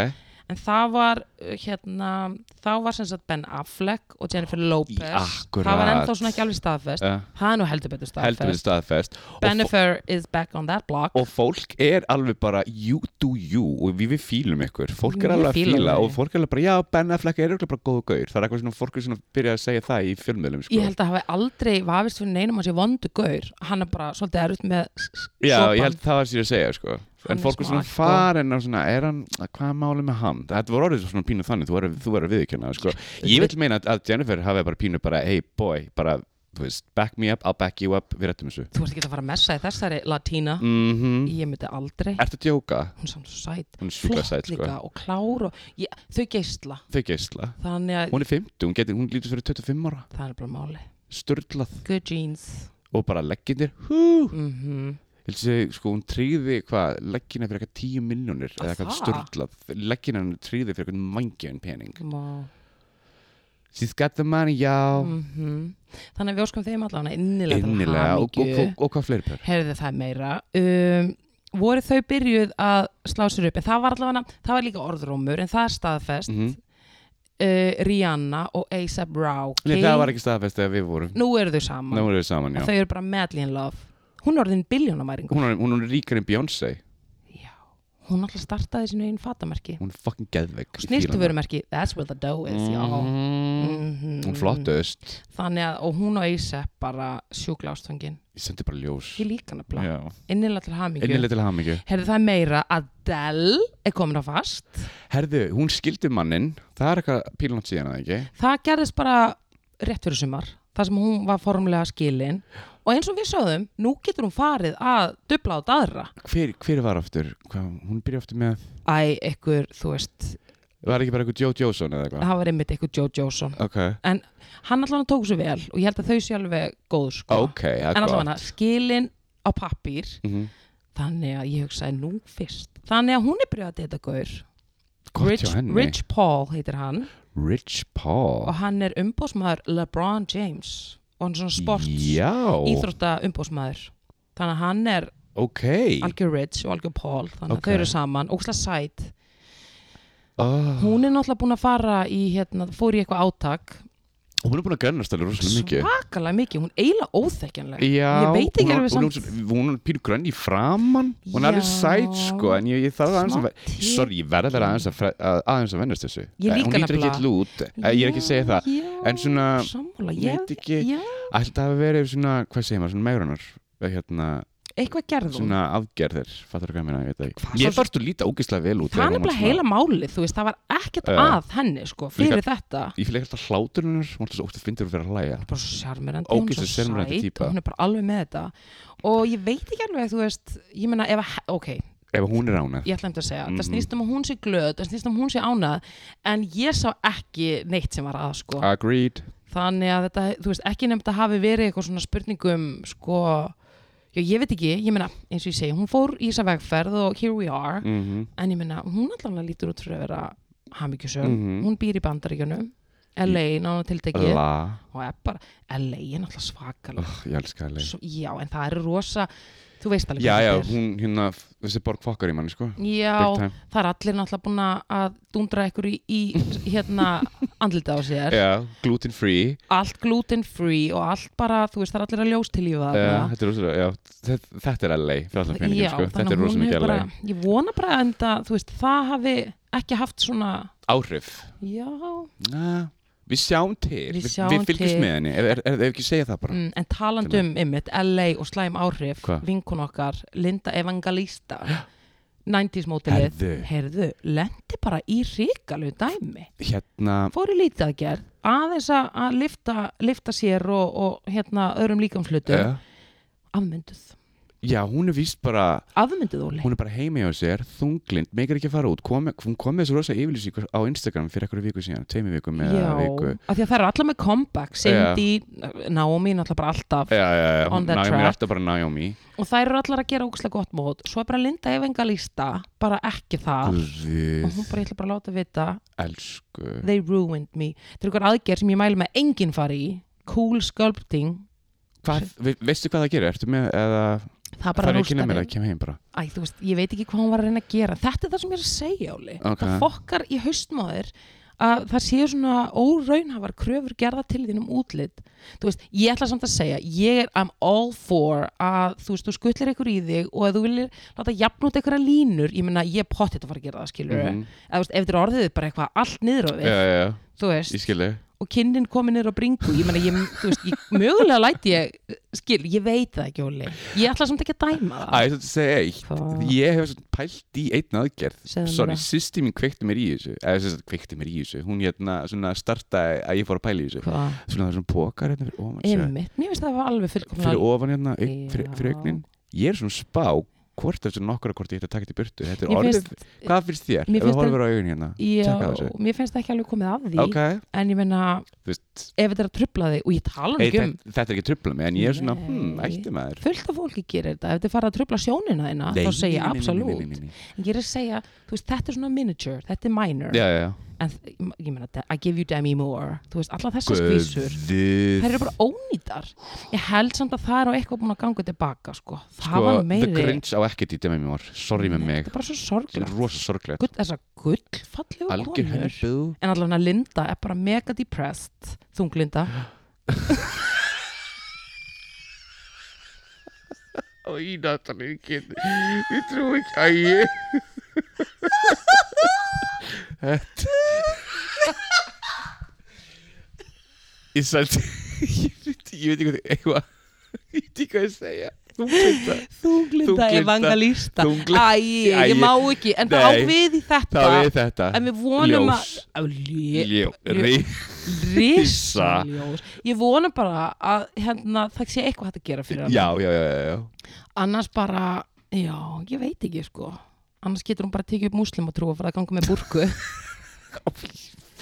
A: en það var uh, hérna þá var sem sagt Ben Affleck og Jennifer Lopez
B: akkurat.
A: það var ennþá svona ekki alveg staðfest
B: uh,
A: það er nú heldur betur
B: heldur við
A: staðfest
B: staðfest Og fó-
A: Bennifer is back on that block
B: Og fólk er alveg bara You do you Og við við fílum ykkur Fólk er
A: Ég
B: alveg að
A: fíla
B: fíla
A: þau.
B: Og fólk er alveg bara Já, Ben Affleck er örugglega bara góð og gaur Það er eitthvað svona Fólk er svona að byrja að segja það í fjölmiðlum sko.
A: ég held að hafa aldrei vafist fyrir neinum hans í vondu gaur hann er bara svolítið erut með
B: Já,
A: sopan.
B: ég held það var sér að segja sko.
A: Hann
B: en
A: er
B: fólk er
A: smá
B: svona
A: alkó.
B: farin og svona, er hann, hvað er málið með hann þetta voru orðið svona pínu þannig, þú verður- þú verður að viðurkenna það, sko. ég vil meina að- að Jennifer hafi bara pínu bara, hey boy, bara þú veist, back me up, I'll back you up, við rettum þessu
A: Þú ert ekki að fara að messa í þessari latína
B: mhm,
A: Ég myndi aldrei
B: ertu að djóka?
A: Hún er samt svo sæt
B: hún er sjúkla sæt, sko,
A: líka og klár og ég, Þau geisla
B: þau geisla
A: Þannig að
B: hún er 50, hún, getur, hún lítur fyrir 25 ára
A: það er bara máli
B: störtlað
A: Good jeans
B: og bara legginir, hú
A: mm
B: Ég sé, sko, hún tríði hvað, leggina fyrir eitthvað 10 miljónir eða eitthvað
A: Það?
B: störtlað, leggina hann tríði fyrir eitthvað mangjön pening
A: Má
B: She's got the money, já
A: Mhm. Þannig að við óskum þeim allavega innilega,
B: Innilega, og, og, og,
A: og,
B: og hvað fleiri pör?
A: Herðu það er meira um, Voru þau byrjuð að slá sér upp En það var allavega, það var líka orðrómur En það er staðfest
B: Mhm.
A: uh, Rihanna og A$AP Rocky
B: Nei, það var ekki staðfest þegar við vorum
A: Nú eru þau saman
B: Nú erum við saman,
A: Og
B: já
A: Þau eru bara madly in love Hún er orðin biljónamæringur
B: Hún er, hún er ríkar en Beyoncé
A: Já, hún alltaf startaði sínu einn fatamerki
B: Hún er fucking geðveik
A: Snýrtuverumerki, that's where the dough is já.
B: mm.
A: Mhm.
B: Hún flottust
A: Þannig að, og hún og A$AP bara sjúkla ástöngin
B: Ég sendi bara ljós
A: Ég líka nefnilega
B: Já.
A: innilega til hamingju
B: Innilega til hamingju
A: Herðu það er meira Adele er komin á fast
B: Herðu, hún skildi mannin Það er eitthvað pílnátt síðan að ekki
A: það gerðist bara rétt fyrir sumar þar sem hún var formlega skilin og eins og við sögðum, nú getur hún farið að dubla át aðra
B: Hver, hver var aftur? Hvað, hún byrja aftur með
A: Æ, ykkur, þú veist,
B: Var ekki bara eitthvað Joe Johnson eða eitthvað?
A: það var einmitt ykkur Joe Johnson
B: Ok,
A: en hann allan tók sér vel og ég held að þau sé alveg góð sko
B: ok, það
A: en
B: er
A: allan
B: gott
A: að skilin á pappír
B: Mhm.
A: þannig að ég hugsaði nú fyrst þannig að hún er byrjuð að deyta gaur
B: Gott
A: Rich,
B: hjá henni
A: Rich Paul heitir hann
B: Rich Paul
A: og hann er umbóðsmaður LeBron James og hann er svona sports
B: Já,
A: íþrótta umbóðsmaður þannig að hann er
B: ok
A: algjör Rich og algjör Paul þannig að
B: Ok.
A: þau eru saman, ókslega sæt
B: oh.
A: hún er náttúrulega búin að fara í hérna, fór í eitthvað átak
B: Og hún er búin að gannast alveg rosalega mikið
A: svakalega mikið, hún er eiginlega óþekkjanleg
B: Já,
A: ég veit ekki
B: hún er-
A: alveg
B: hún er
A: samt-
B: svona- Hún er pínu grönn í framan
A: Já.
B: Hún er alveg sæt sko En ég, ég þarf aðeins
A: Smá
B: að ver-
A: til.
B: Sorry, ég verð alveg aðeins að, fre- að, aðeins að vennast þessu
A: Ég
B: Eh,
A: líka
B: Hún lítur ekki
A: nefnilega.
B: ill út eh, Ég er ekki að segja það
A: já,
B: En svona,
A: sammála, ég,
B: veit ekki
A: já,
B: Ætli það hafi verið svona, hvað segir maður, svona megrunar Hérna,
A: eitthvað gerðum
B: svona aðgerðir Fattur hvað ég meina, ég veit
A: Hvað
B: það ekki
A: svo-
B: Ég þarfst þú líta ógeðslega vel út
A: það er
B: þegar hún var
A: nefnilega
B: svona-
A: heila málið, þú veist, það var ekkert
B: Já.
A: að henni sko, fyrir þetta
B: Ég fylg ekkert að hlátur hennar Hún er svo ótt að fyndi fyrir að hlæja
A: bara svo sjarmerandi, hún er
B: Ógeðslega
A: svo
B: sjarmerandi
A: sæt
B: típa.
A: og hún er bara alveg með þetta og ég veit ekki alveg, þú veist ég meina, ef að, ok,
B: Ef hún er ánað
A: ég ætla um að segja
B: Mhm.
A: það snýst um að hún sé glöð, það snýst um að hún sé ánað en ég sá ekki neitt sem var að sko,
B: Agreed
A: þannig að þetta, þú veist, ekki nefnt að hafi verið eitthvað svona spurningum sko, já, ég veit ekki, ég meina eins og ég segi, hún fór í þessa vegferð og here we are,
B: mm
A: en ég meina hún allan lítur út fyrir að vera hamingjusum
B: Mhm.
A: hún býr í bandaríkjunum LA, nána tiltekið
B: La
A: og er bara, LA er náttúrulega svakalega
B: oh, Ég elska LA
A: Svo, já, en það eru rosa þú veist alveg
B: Já,
A: hvað
B: já,
A: þetta er.
B: hún hérna Þessi borg fokkar í manni, sko Big
A: já
B: time.
A: það er allir náttúrulega búin að dundra ykkur í, í hérna andlita á sér
B: Já, gluten free
A: allt gluten free og allt bara þú veist, það er allir að ljós til lífa
B: Já, Eh, þetta er rosalega já, þetta, þetta er LA Fyrir allan peningin, sko Þetta er rosalega mikið LA
A: bara, ég vona bara en það, þú veist, það hafi ekki haft svona,
B: Áhrif
A: já
B: Na, Við sjáum til
A: Við
B: Við,
A: sjáum
B: við fylgjumst
A: til.
B: með henni Ef, er, er, ef ekki segja það bara
A: mm, en talandi um ymmit, LA og slæm áhrif
B: Hva?
A: vinkun okkar, Linda Evangelista 90s mótilið
B: Herðu.
A: herðu, lendi bara í ríkalu dæmi
B: Hérna
A: fór í lítið aðgerð aðeins að- að lifta, lifta sér og, og hérna öðrum líkamslutum
B: eh,
A: afmynduð,
B: Já, hún er víst bara
A: afmynduð Óli
B: Hún er bara heimi á sér, þunglind, meikar ekki að fara út kom, Hún kom með þessu rosa yfirlýsingu á Instagram fyrir eitthvað viku síðan, tveimur vikum eða viku
A: af því að það eru allar með comeback Cindy, Naomi, náttúrulega bara alltaf
B: já, já, já,
A: On
B: hún,
A: the
B: Naomi er
A: track.
B: alltaf bara Naomi
A: og þær eru allar að gera ógislega gott mót svo er bara Linda Evangelista bara ekki það og
B: Guðið,
A: hún bara ég ætla bara að láta vita
B: elsku
A: they ruined me þetta er ykkur aðgerð sem ég mælu með enginn fari í cool sculpting
B: hvað, ve Veistu hvað það gerir, ertu með eða,
A: það er
B: Það
A: bara
B: er ekki
A: rústar
B: nefnir að
A: þeim.
B: kemja heim bara
A: Æ, þú veist, ég veit ekki hvað hún var að reyna að gera þetta er það sem ég er að segja, Óli
B: Ok.
A: það fokkar í haustmáður að það séu svona óraunhafar kröfur gerða til þín um útlit þú veist, ég ætla samt að segja ég er I'm all for að þú veist, þú skutlir ykkur í þig og að þú viljir láta jafn út einhverja línur, ég meina ég potið að fara að gera það skilur, mm
B: Mhm.
A: eða þú veist, ef þetta er orðið bara eitthvað allt niður á við,
B: Já, já, já,
A: þú veist
B: ég skilji
A: og kinnin komin er á bringu ég meina, ég, þú veist, ég, mögulega læti ég skil, ég veit það ekki, Óli ég ætla samt ekki að dæma
B: Æ,
A: það
B: ég ætla að segja eitt
A: Hvað?
B: Ég hef svona pælt í einn aðgerð
A: Segðu mér
B: Sorry,
A: það.
B: sýsti mín kveikti mér í þessu eða sérst kveikti mér í þessu hún hérna svona startaði að ég fór að pæla í þessu
A: hvað,
B: svona það er svona pokar hérna fyrir ofan sér.
A: einmitt, mér finnst það var alveg
B: fyrir
A: fullkomlega
B: ofan hérna auk, fyrir,
A: Já.
B: fyrir augnin ég er svona að spá hvort þessu nokkra hvort ég ætti að taka þetta í burtu þetta er
A: Ég
B: orðið,
A: finnst-
B: hvað finnst þér?
A: Mér
B: ef þú
A: finnst
B: horfir á augun hérna
A: já,
B: Tjekka á þessu.
A: mér finnst það ekki alveg komið af því
B: ok,
A: en ég meina,
B: þú veist
A: ef þetta er að trubla þig og ég tala nú
B: hey,
A: ekki um
B: þetta, þetta er ekki trubla mig en ég er svona,
A: Nei.
B: hmm, ætti maður
A: fullt af fólki gerir þetta, ef þið fara að trubla sjónina þína,
B: Nei,
A: þá segja
B: nei, nei, nei,
A: absolutt
B: nei, nei, nei, nei.
A: en ég er að segja, þú veist, þetta er svona miniature þetta er minor,
B: já, já, já.
A: en þ- ég meina I give you Demi Moore, þú veist, alla þessar skvísur þær
B: Guð
A: eru bara ónýtar ég held samt að það er á eitthvað búin að ganga tilbaka sko. það
B: Sko,
A: var
B: The
A: meiri
B: Grinch á ekkert í dæmi mér sorry með mig,
A: þetta er bara svo
B: þetta er
A: sorglegt
B: rosa sorglegt
A: Gull, þessar gullfallegu
B: algjör henni
A: konur
B: bú
A: en allavega Linda er bara mega depressed þunglinda
B: og í náttúrulega ekki ég trú ekki að ég þetta ég sælt ég veit ég veit ekki hvað eitthvað ég veit ekki hvað ég segja þú veit það
A: þunglinda
B: Þunglinda-
A: evangelista
B: þunglinda-
A: æ, ég
B: Æi,
A: má ekki en það á
B: nei,
A: við í þetta
B: það er þetta
A: en við vonum
B: ljós
A: að ljós
B: ljó rey-
A: risa ljós ég vonum bara að hérna, það sé eitthvað hægt að gera fyrir hana
B: já já já já, já
A: annars bara, já, ég veit ekki sko annars getur hún bara að tekið upp múslim og trú að fara að ganga með burku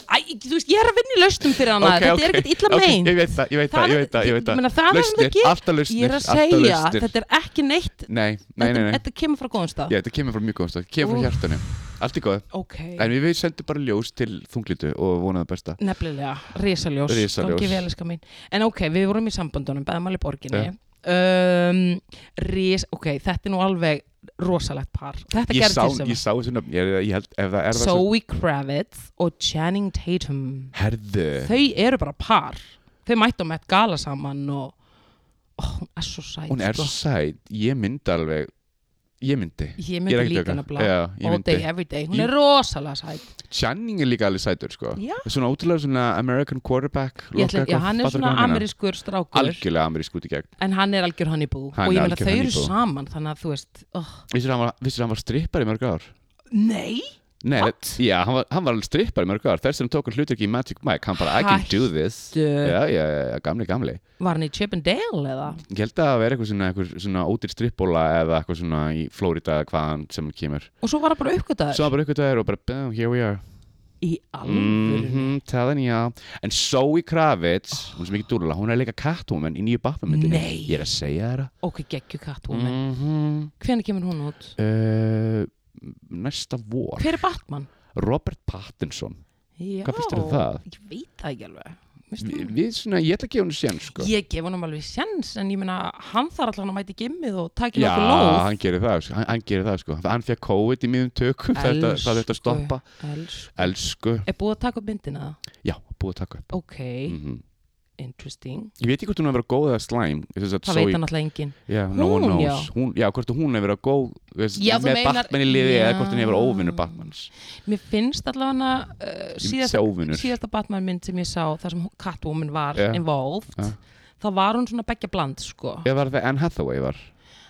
A: Æ, þú veist, ég er að vinna í lausnum fyrir hana
B: Ok,
A: þetta
B: ok.
A: er ekkert illa
B: Ok,
A: meint
B: ég veit það, ég veit það, ég veit það, ég veit
A: meina, það er sem það
B: Lausnir,
A: gerir
B: alltaf lausnir
A: ég er að
B: alltaf
A: segja,
B: lausnir.
A: þetta er ekki neitt
B: Nei, nei, nei,
A: þetta,
B: nei
A: þetta kemur frá góðum stað
B: Já, þetta kemur frá mjög góðum stað, kemur
A: Úff.
B: frá hjartanu Allt í góð,
A: ok,
B: en við við sendum bara ljós til þunglítu og vonaðu besta
A: nefnilega, risaljós
B: Risaljós.
A: gangi vel, elskar mín en ok, við vorum í samböndunum, beðamali borginni
B: Já.
A: um, ris, ok, þetta er nú alveg rosalegt par þetta
B: ég
A: gerði
B: sá,
A: til sem
B: ég sá þessu nöfn ég, ég held, ef það er það sem
A: Zoe Kravitz og Channing Tatum
B: herðu,
A: þau eru bara par þau mættu á Met Gala saman og oh, hún er svo sæt
B: hún er
A: sko.
B: svo sæt ég myndi alveg, ég myndi
A: ég
B: Ég er
A: myndi
B: ekki
A: líka
B: að djóka.
A: nefnilega
B: Já, ég
A: all day
B: myndi.
A: every day, hún
B: Ég-
A: er rosalega sæt
B: Channing er líka alveg sætur sko
A: Já.
B: svona ótrúlega svona American quarterback
A: Ég ætla, já,
B: loka eitthvað,
A: hann er
B: fattar
A: svona
B: hvað ég meina?
A: amerískur strákur
B: algjörlega amerísk út í gegn
A: en hann er algjör honeybú
B: Hann
A: og ég
B: er
A: meina
B: algjör
A: þau eru
B: honeybú.
A: saman þannig að þú veist oh,
B: vissir hann, var- vissirðu hann var strippar í mörg ár
A: nei,
B: Nei,
A: What?
B: það- já, hann var, hann var alveg strippar í mörg ár þess sem tók hann hlutur ekki í Magic Mike hann bara, I can do this
A: Hættu.
B: já, já, já, já, gamli, gamli
A: var hann í Chip and Dale eða
B: Ég held að það vera eitthvað svona, eitthvað svona ódýr strippbóla eða eitthvað svona í Flórida eða hvaðan sem hann kemur.
A: og svo var hann bara
B: Svo
A: uppgötaður
B: hann bara eitthvað það er og bara, bam, here we are.
A: í alvöru
B: Mhm, telling you. En Zoe Kravitz, hún sem ekki dúlala, hún er líka Catwoman í nýju Batman-myndinni.
A: Nei.
B: Ég er að segja þér það.
A: ok, geggju kattúmen mm.
B: Mhm.
A: hvernig kemur hún út?
B: Uh, Næsta vor.
A: hver er Batman?
B: Robert Pattinson.
A: Já,
B: Hvað finnst þér um það?
A: Ég veit það ekki alveg. Veistu
B: Vi,
A: það?
B: við svona, ég ætla að gefa henni sén, sko.
A: Ég gef honum alveg sjens, en ég meina, hann þarf alltaf að mæti gimmið og taki
B: Já,
A: nokkuð lóð.
B: hann gerir það, sko. hann, hann gerir það sko. Hann fekk COVID í miðum tökum, þetta, það þetta stoppa.
A: Elsku.
B: Elsku,
A: Er búið að taka upp myndina?
B: já, búið að taka upp.
A: Ok,
B: Mm
A: Mhm. interesting.
B: Ég veit ekki hvort hún hefur verið góð eða slæm þess að
A: Það veit hann alltaf enginn.
B: yeah, no one
A: Hún, já.
B: knows. Hún, já, hvort hún hefur verið góð þess,
A: Já, þú
B: með
A: meinar-
B: Batman í liði eða
A: Já.
B: hvort hún hefur verið óvinnur Batmans
A: Mér finnst allavega hana uh,
B: Ég
A: síðast,
B: sé óvinnur
A: síðasta Batman mynd sem ég sá, þar sem hún- Catwoman var
B: Já.
A: involved,
B: Já.
A: þá var hún svona begja bland, sko.
B: Eða var það Anne Hathaway var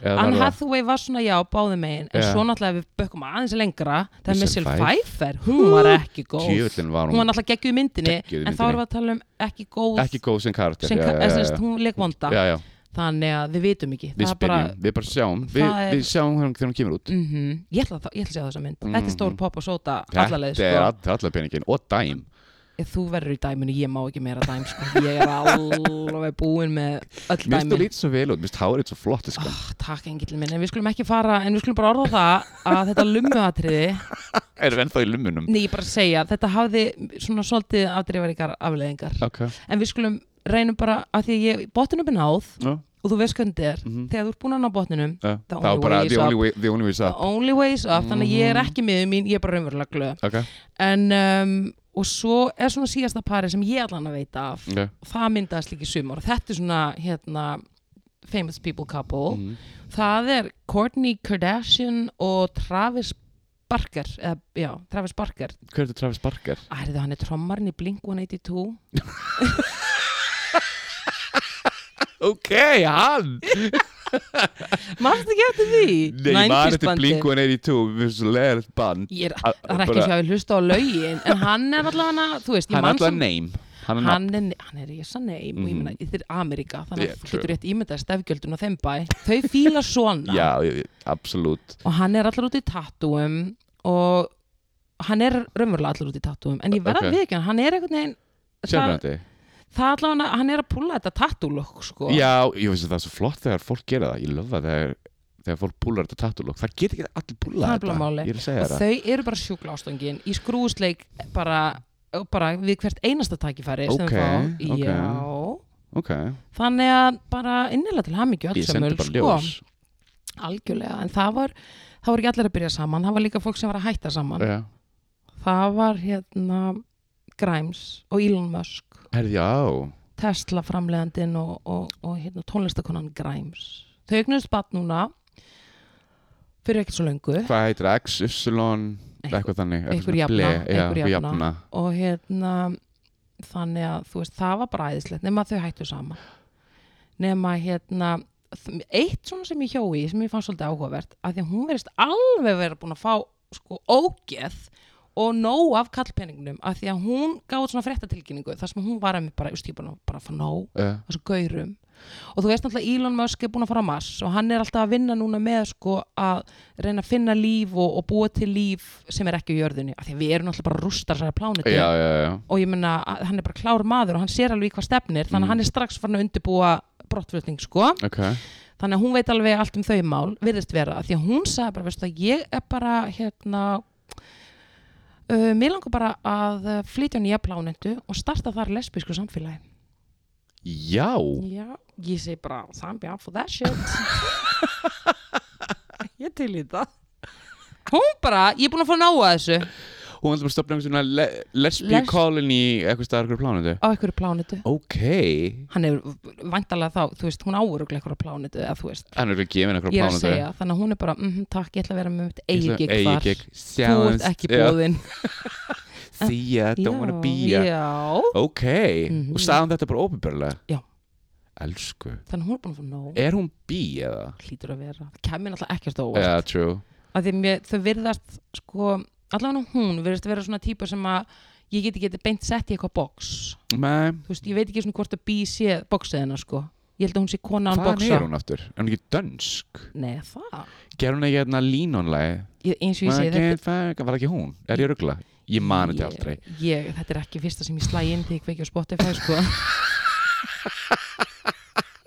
B: Eða
A: Anne
B: var það-
A: Hathaway var svona já, báði megin en
B: Já.
A: svo náttúrulega ef við bökkum aðeins lengra það er
B: Missile
A: Missile Pfeiffer, hún var ekki góð
B: Djöfullin var
A: hún var
B: hún
A: náttúrulega geggjuð í myndinni
B: Geggjuð í
A: en þá
B: myndinni.
A: erum við að tala um ekki góð
B: ekki góð sem karakter
A: sem,
B: já, já,
A: eða sem
B: já,
A: sagt,
B: já.
A: hún leik vonda
B: Já, já,
A: þannig að við vitum ekki
B: við
A: Það er
B: spyrjum, við bara sjáum við,
A: Það er-
B: við sjáum hvernig þegar hún kemur út
A: Mhm. ég ætla að, ég ætla að sjá þessa mynd þetta er stór pop og sóta allalegð
B: Mhm. Þetta er
A: sko.
B: all- allar peningin og dæm
A: Ef þú verður í dæminu, ég má ekki meira dæm sko. ég er alveg búin með öll
B: Mér finnst þú
A: dæmin
B: lítið svo vel út, mér finnst hárið svo flott sko.
A: oh, takk engill minn, en við skulum ekki fara en við skulum bara orða það að þetta lummuatriði
B: Erum ennþá í lumunum
A: Nei, ég bara segja, þetta hafði svona svolítið afdreifaríkar afleðingar
B: okay.
A: en við skulum reynum bara að því að ég, botnum er náð
B: no.
A: og þú veist hvernig þetta er
B: Mhm.
A: þegar þú ert búin að ná botninum
B: uh,
A: The
B: Það var
A: only
B: bara
A: way is
B: the only
A: up.
B: way, the only way is
A: the
B: up
A: only ways up, þannig að ég
B: Mhm.
A: er ekki miður mín ég er bara raunverulega glöð
B: okay.
A: en, um, og svo er svona síðasta pari sem ég allan að veita af
B: Okay.
A: og það myndaðist líka í sumar og þetta er svona hérna
B: Mhm.
A: famous people couple það er Kourtney Kardashian og Travis Barker, eða, já, Travis Barker
B: Hver er þetta Travis Barker?
A: Ærið hann er trommarinn í Blink-182
B: Ok, hann!
A: Manstu ekki eftir því?
B: Nei, ég man
A: 90s
B: þetta
A: bandið.
B: Blink-182 Við svo leðilegt band
A: Ég er,
B: Að-
A: það er ekki
B: bara-
A: svo að við hlusta á lögin en hann er allavega, þú veist, ég
B: Hann er
A: man
B: alltaf
A: samt-
B: name Hann er
A: hann er, hann er ég sann neim og ég meina, þetta er Ameríka þannig
B: Yeah,
A: að þú
B: true.
A: getur rétt ímyndað stefgjöldun á þeim bæ þau fíla svona
B: nafn Já, ég- ég- absolutt
A: og hann er allar út í tattúum og hann er raunverulega allar út í tattúum en ég verða
B: Ok.
A: okay. við ekki hann er einhvern veginn það,
B: Sérfrændi
A: það allavega, hann er að púla þetta tattúlokk sko.
B: Já, ég veist að það er svo flott þegar fólk gera það Ég löfa þegar, þegar fólk búlar þetta tattúlokk Það getur ekki allir búlað
A: Það er bara
B: þetta
A: málið.
B: Ég er að segja
A: og
B: það
A: þau eru bara sjúkla ástöngin í skrúðsleik bara, bara við hvert einasta takifæri
B: Ok,
A: sem þau fá
B: ok.
A: já
B: Ok,
A: Þannig að bara innilega til hamingju öll
B: ég
A: sem
B: sendi
A: öll,
B: bara
A: sko,
B: ljós
A: algjörlega en það var, það var ekki allir að byrja saman það var líka fólk sem var að hætta saman
B: Já.
A: það var hérna Grimes og Elon Musk
B: Herði, já
A: Tesla framleiðandinn og, og, og hérna, tónlistakonan Grimes þau eignast bat núna fyrir ekkert svo löngu
B: Hvað heitir það? X, Y, eitthvað þannig
A: einhver
B: eitthvað svona
A: jafna,
B: ble, já,
A: einhver
B: eitthvað
A: jafna.
B: jafna
A: og hérna þannig að þú veist, það var bara æðislegt nema að þau hættu saman nema hérna þ- eitt svona sem ég hjó í, sem ég fann svolítið áhugavert að því að hún verðist alveg vera búin að fá sko ógeð og nóg af kallpenningnum að því að hún gáði svona fréttatilkynningu þar sem hún var að mér bara, just, ég er búin að bara að fá nóg
B: Uh,
A: þessu gaurum og þú veist náttúrulega Elon Musk er búin að fara á Mars og hann er alltaf að vinna núna með sko að reyna að finna líf og, og búa til líf sem er ekki á jörðinni af því að við erum náttúrulega bara rústar særa plánetu
B: já, já, já
A: og ég meina að hann er bara klár maður og hann sér alveg í hvað stefnir
B: Mm.
A: þannig að hann er strax farin að undirbúa brottflutning sko
B: Ok,
A: þannig að hún veit alveg allt um þau mál virðist vera af því að hún sagði bara veistu að ég er bara hérna uh, mér langar bara að uh, flytja á nýja plánetu og starta þar lesbísku samfélagi
B: já
A: Já, ég segi bara I'm down for that shit Ég til í það Hún bara, ég er búin að fá náa þessu
B: Hún ætla bara að stopna einhvern svona le lesbí
A: Les-
B: colony eitthvað staðar okkur plánuðu
A: á einhverju plánetu
B: Ok
A: Hann er vandalega þá, þú veist, hún áuruglega einhverju plánetu eða þú veist,
B: Hann er ekki gefin okkur
A: ég er að
B: plánuðu
A: segja þannig að hún er bara, mm takk, ég ætla að vera með mitt eigigig þar,
B: Eigigig
A: þú ert ekki búðinn
B: See ya, don't wanna be ya
A: Já,
B: Ok, og sagði hann þetta bara óbyrbarlega
A: Mhm. Já.
B: Elsku
A: þannig að hún er búin að fá nóg
B: Er hún bí eða?
A: hlýtur að vera, það kemur náttúrulega ekkert á
B: Já,
A: óvart
B: yeah, true
A: að því mér, þau virðast sko, allavega hún virðast vera svona típa sem að ég get ekki geti beint sett í eitthvað box
B: Nei,
A: þú veist, ég veit ekki svona hvort að bí sé boxið hennar sko, ég held að hún sé kona án
B: hvaðan
A: boxa
B: er hún aftur? Er hún ekki dönsk?
A: Nei, það,
B: Gerði hún ekki hérna línónlega?
A: ég, eins og ég segi þetta,
B: Var það ekki hún? Er ég ruggla? Ég man þetta
A: Ég-
B: aldrei
A: ég, þetta er ekki fyrsta sem ég slæ inn þegar ég kveiki á Spotify sko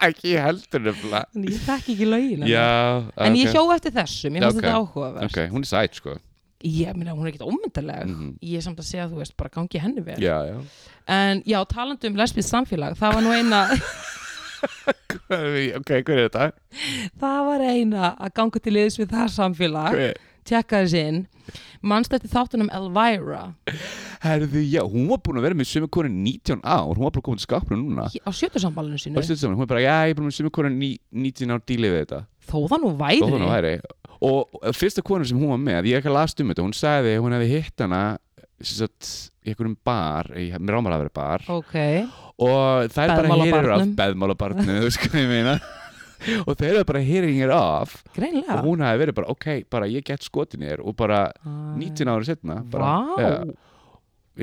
B: Ekki ég heldur nefnilega
A: en ég þekki ekki lögin
B: Já,
A: en ég
B: ok.
A: hjó eftir þessum, ég finnst
B: Ok.
A: þetta áhugaverð
B: Ok, hún er sæt sko
A: ég meina, hún er ekkit ómyndaleg
B: Mhm.
A: ég er samt að segja, þú veist, bara gangi henni vel
B: Já, já
A: en já, talandi um lesbíð samfélag það var nú eina
B: Ok, hver er þetta?
A: það var eina að ganga til liðs við það samfélag
B: Hver?
A: tjekka þess inn mannst eftir þáttunum Elvira
B: Herðu, já, hún var búin að vera með sömu konu 19 ár Hún var bara komin til skapinu núna
A: á sjötusamballinu sínu
B: Og stundum saman, hún er bara, já, ég er búin að vera með sömu konu ní- 19 ár díli við þetta
A: þó það nú væri,
B: Þó þannig væri Og fyrsta konu sem hún var með, ég ekki last um þetta Hún sagði að hún hefði hitt hana sem sagt, í einhverjum bar, í, mér ámar að vera bar
A: ok
B: og það er bara
A: Beðmál á
B: hýrir af
A: barnum.
B: beðmálabarnum, þú veist hvað ég meina og þeir eru bara hýringir af
A: greinlega
B: og hún hafi verið bara, ok, bara ég get skotin í þér og bara
A: Æ,
B: 19 ára setna bara,
A: Ah, vá,
B: já,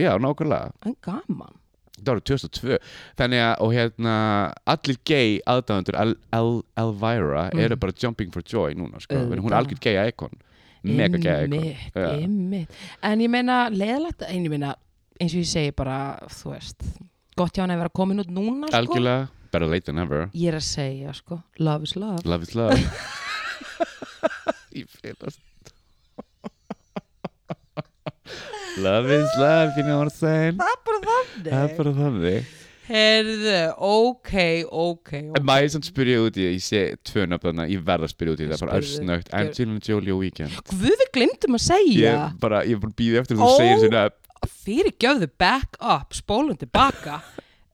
B: já, nákvæmlega,
A: en gaman
B: það var 2002 þannig að, og hérna allir gay aðdáðendur El, El, Elvira eru bara jumping for joy núna, sko,
A: Mm. Auðvitað.
B: en hún er algjör gay icon mega gay icon
A: Einmitt,
B: Já.
A: einmitt. en ég meina leðalegt en ég meina, eins og ég segi bara þú veist, gott hjá hann að vera komin út núna sko.
B: algjörlega, better late than ever
A: ég er að segja sko, love is love
B: love is love ég félast love is love, you know what I'm saying
A: það er bara þannig
B: það er bara þannig
A: herðu, ok, ok, ok.
B: en maður sem spyrja út í, ég sé tvö nöfn þarna, ég verð að spyrja út í það bara
A: Spyrðu.
B: örsnögt, Angelina Jolie og Weekend
A: Guð við glimtum að segja
B: ég bara, ég er búin að býða eftir að
A: Ó.
B: þú segir þessu nöfn
A: fyrir göfðu back up, spólum tilbaka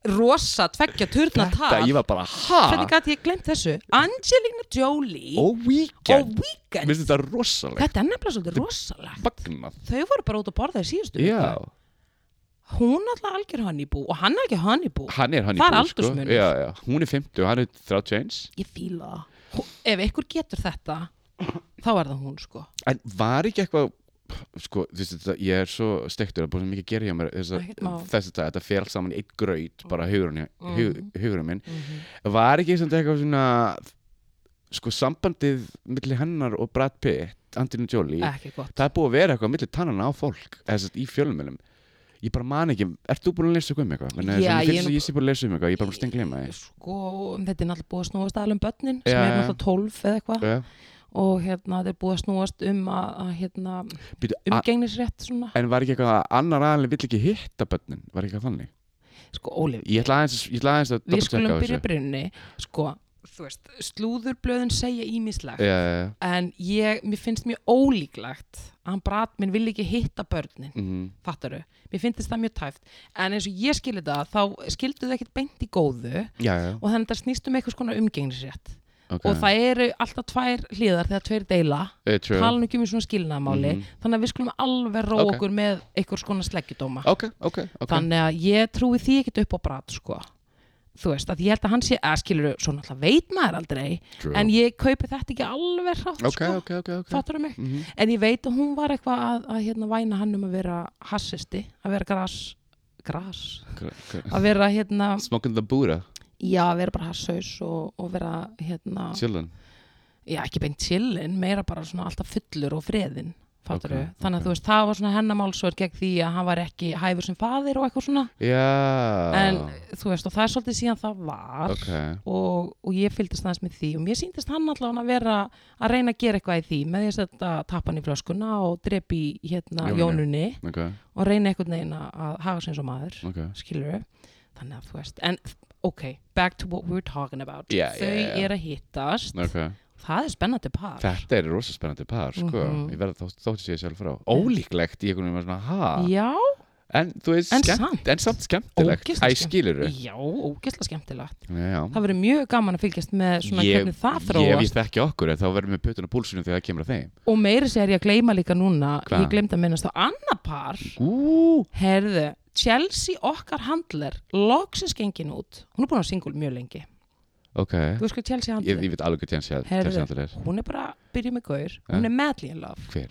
A: rosa tveggja turna
B: Þetta,
A: tal
B: ég var bara, ha?
A: hvernig gæti ég glemt þessu Angelina Jolie
B: Og
A: og
B: Weekend
A: Weekend
B: Mér finnst þetta rosalegt
A: þetta er nefnilega svolítið rosalegt
B: Magnað
A: þau voru bara út að borða í síðustu
B: Já,
A: viku. hún alltaf algjör honeybú og hann er ekki honeybú
B: hann er hann
A: Það er
B: í búr,
A: aldursmunur.
B: já, já. Hún er 50 og hann er 31
A: ég fíla það Hú- ef einhver getur þetta þá er það hún sko
B: En var ekki eitthvað sko, þú veist þetta, ég er svo stektur að búið svo mikið að gera hjá mér þess að,
A: Ekkert mál.
B: þess að þetta fer allt saman í eitt gröyt bara hugurinn, hug, hugurinn minn var ekki samt eitthvað svona sko sambandið milli hennar og Brad Pitt, Angelina Jolie
A: ekki gott
B: það er búið að vera eitthvað milli tannana á fólk eða þess að í fjölumilum ég bara man ekki, ert þú búin að lesa eitthvað um eitthvað? Menni,
A: Já,
B: Já,
A: ég er
B: ég,
A: nú-
B: ég sé búin að lesa um eitthvað, ég er bara búin að stengleima því
A: sko, þetta er náttúrulega búið að snúast aðalum börnin sem
B: Já,
A: er
B: já.
A: náttúrulega 12 eða eitthvað
B: Já.
A: og hérna þetta er búið að snúast um að, að hérna,
B: Býtu, a-
A: umgengnisrétt svona
B: En var ekki eitthvað að annar aðalinn vill ekki hitta börnin? Var ekki eitthvað þannig?
A: sko, Ólif,
B: Ég ætla aðeins, ég ætla aðeins að
A: við
B: doppeltjekka
A: skulum
B: á
A: byrja
B: þessu.
A: brunni sko, þú veist, slúðurblöðin segja ímislegt
B: Já, já, já.
A: en ég, mér finnst mjög ólíklegt að hann brat minn vil ekki hitta börnin
B: Mhm.
A: fattaru, mér finnst það mjög tæft en eins og ég skildi það, þá skildu þau ekkert beint í góðu
B: Já, já,
A: og þannig að það snýst um einhvers konar umgengnisrétt
B: ok.
A: og það eru alltaf tvær hliðar þegar tveir deila
B: Eh, true.
A: tala nú ekki um í svona skilnaðmáli þannig að við skulum alveg róa
B: Ok.
A: okkur með einhvers konar sleggjudóma
B: Ok, ok, ok.
A: þannig að ég trúi því ekkit upp á brat sko þú veist, að ég held að hann sé að skilur svo náttúrulega veit maður aldrei
B: True.
A: en ég kaupi þetta ekki alveg hrátt
B: Ok,
A: sko,
B: ok, ok, ok.
A: fattur mig
B: Mm
A: en ég veit að hún var eitthvað að, að hérna væna hann um að vera hassisti að vera gras gras, að vera hérna
B: Smoking the Buddha,
A: já, að vera bara hassaus og, og vera hérna,
B: chillin.
A: já, ekki beint chillin meira bara svona alltaf fullur og freðin fattur
B: Ok,
A: þannig að þú veist, það var svona hennamálsvör gegn því að hann var ekki hæfur sem faðir og eitthvað svona
B: Já.
A: en þú veist og það er svolítið síðan það var
B: Ok,
A: og, og ég fylgdist aðeins með því og mér síndist hann allavega að vera að reyna að gera eitthvað í því með því að setja tappan í flöskuna og drepi í, hérna
B: Jónu.
A: jónunni
B: ok,
A: og reyna einhvern veginn að- að hafa sem svo maður
B: ok.
A: skilur þannig að þú veist en ok, back to what we were talking about
B: Yeah,
A: þau
B: yeah, yeah.
A: eru að hittast
B: Ok,
A: það er spennandi par
B: þetta er rosa spennandi par, sko,
A: Mhm.
B: ég verða þótt, þótt sér sjálf frá. Ólíklegt í einhvern veginn var svona, ha,
A: já,
B: en þú veist,
A: En
B: skemmt-
A: samt.
B: en samt skemmtilegt,
A: Ógeðslega
B: æ,
A: skemmt-
B: skilur þau.
A: já, ógeðslega skemmtilegt
B: Já, já.
A: það verður mjög gaman að fylgjast með svona hvernig það
B: Mm. Ég
A: þróast
B: víst ekki okkur, en þá verðum við putun á púlsunum þegar það kemur að þeim.
A: og meiri sér ég að gleyma líka núna
B: Hvað?
A: ég gleymd að minnast á annað par
B: Ú,
A: herðu, Chelsea okkar handler loksins gengin út hún er búin að single mjög lengi
B: ok.
A: þú veist hvað Chelsea
B: Ég,
A: handler
B: ég veit alveg hvað tjensi að
A: Herðu.
B: tjensi að
A: hún er bara að byrja með gaur hún
B: Ja.
A: er madly in love
B: Hver?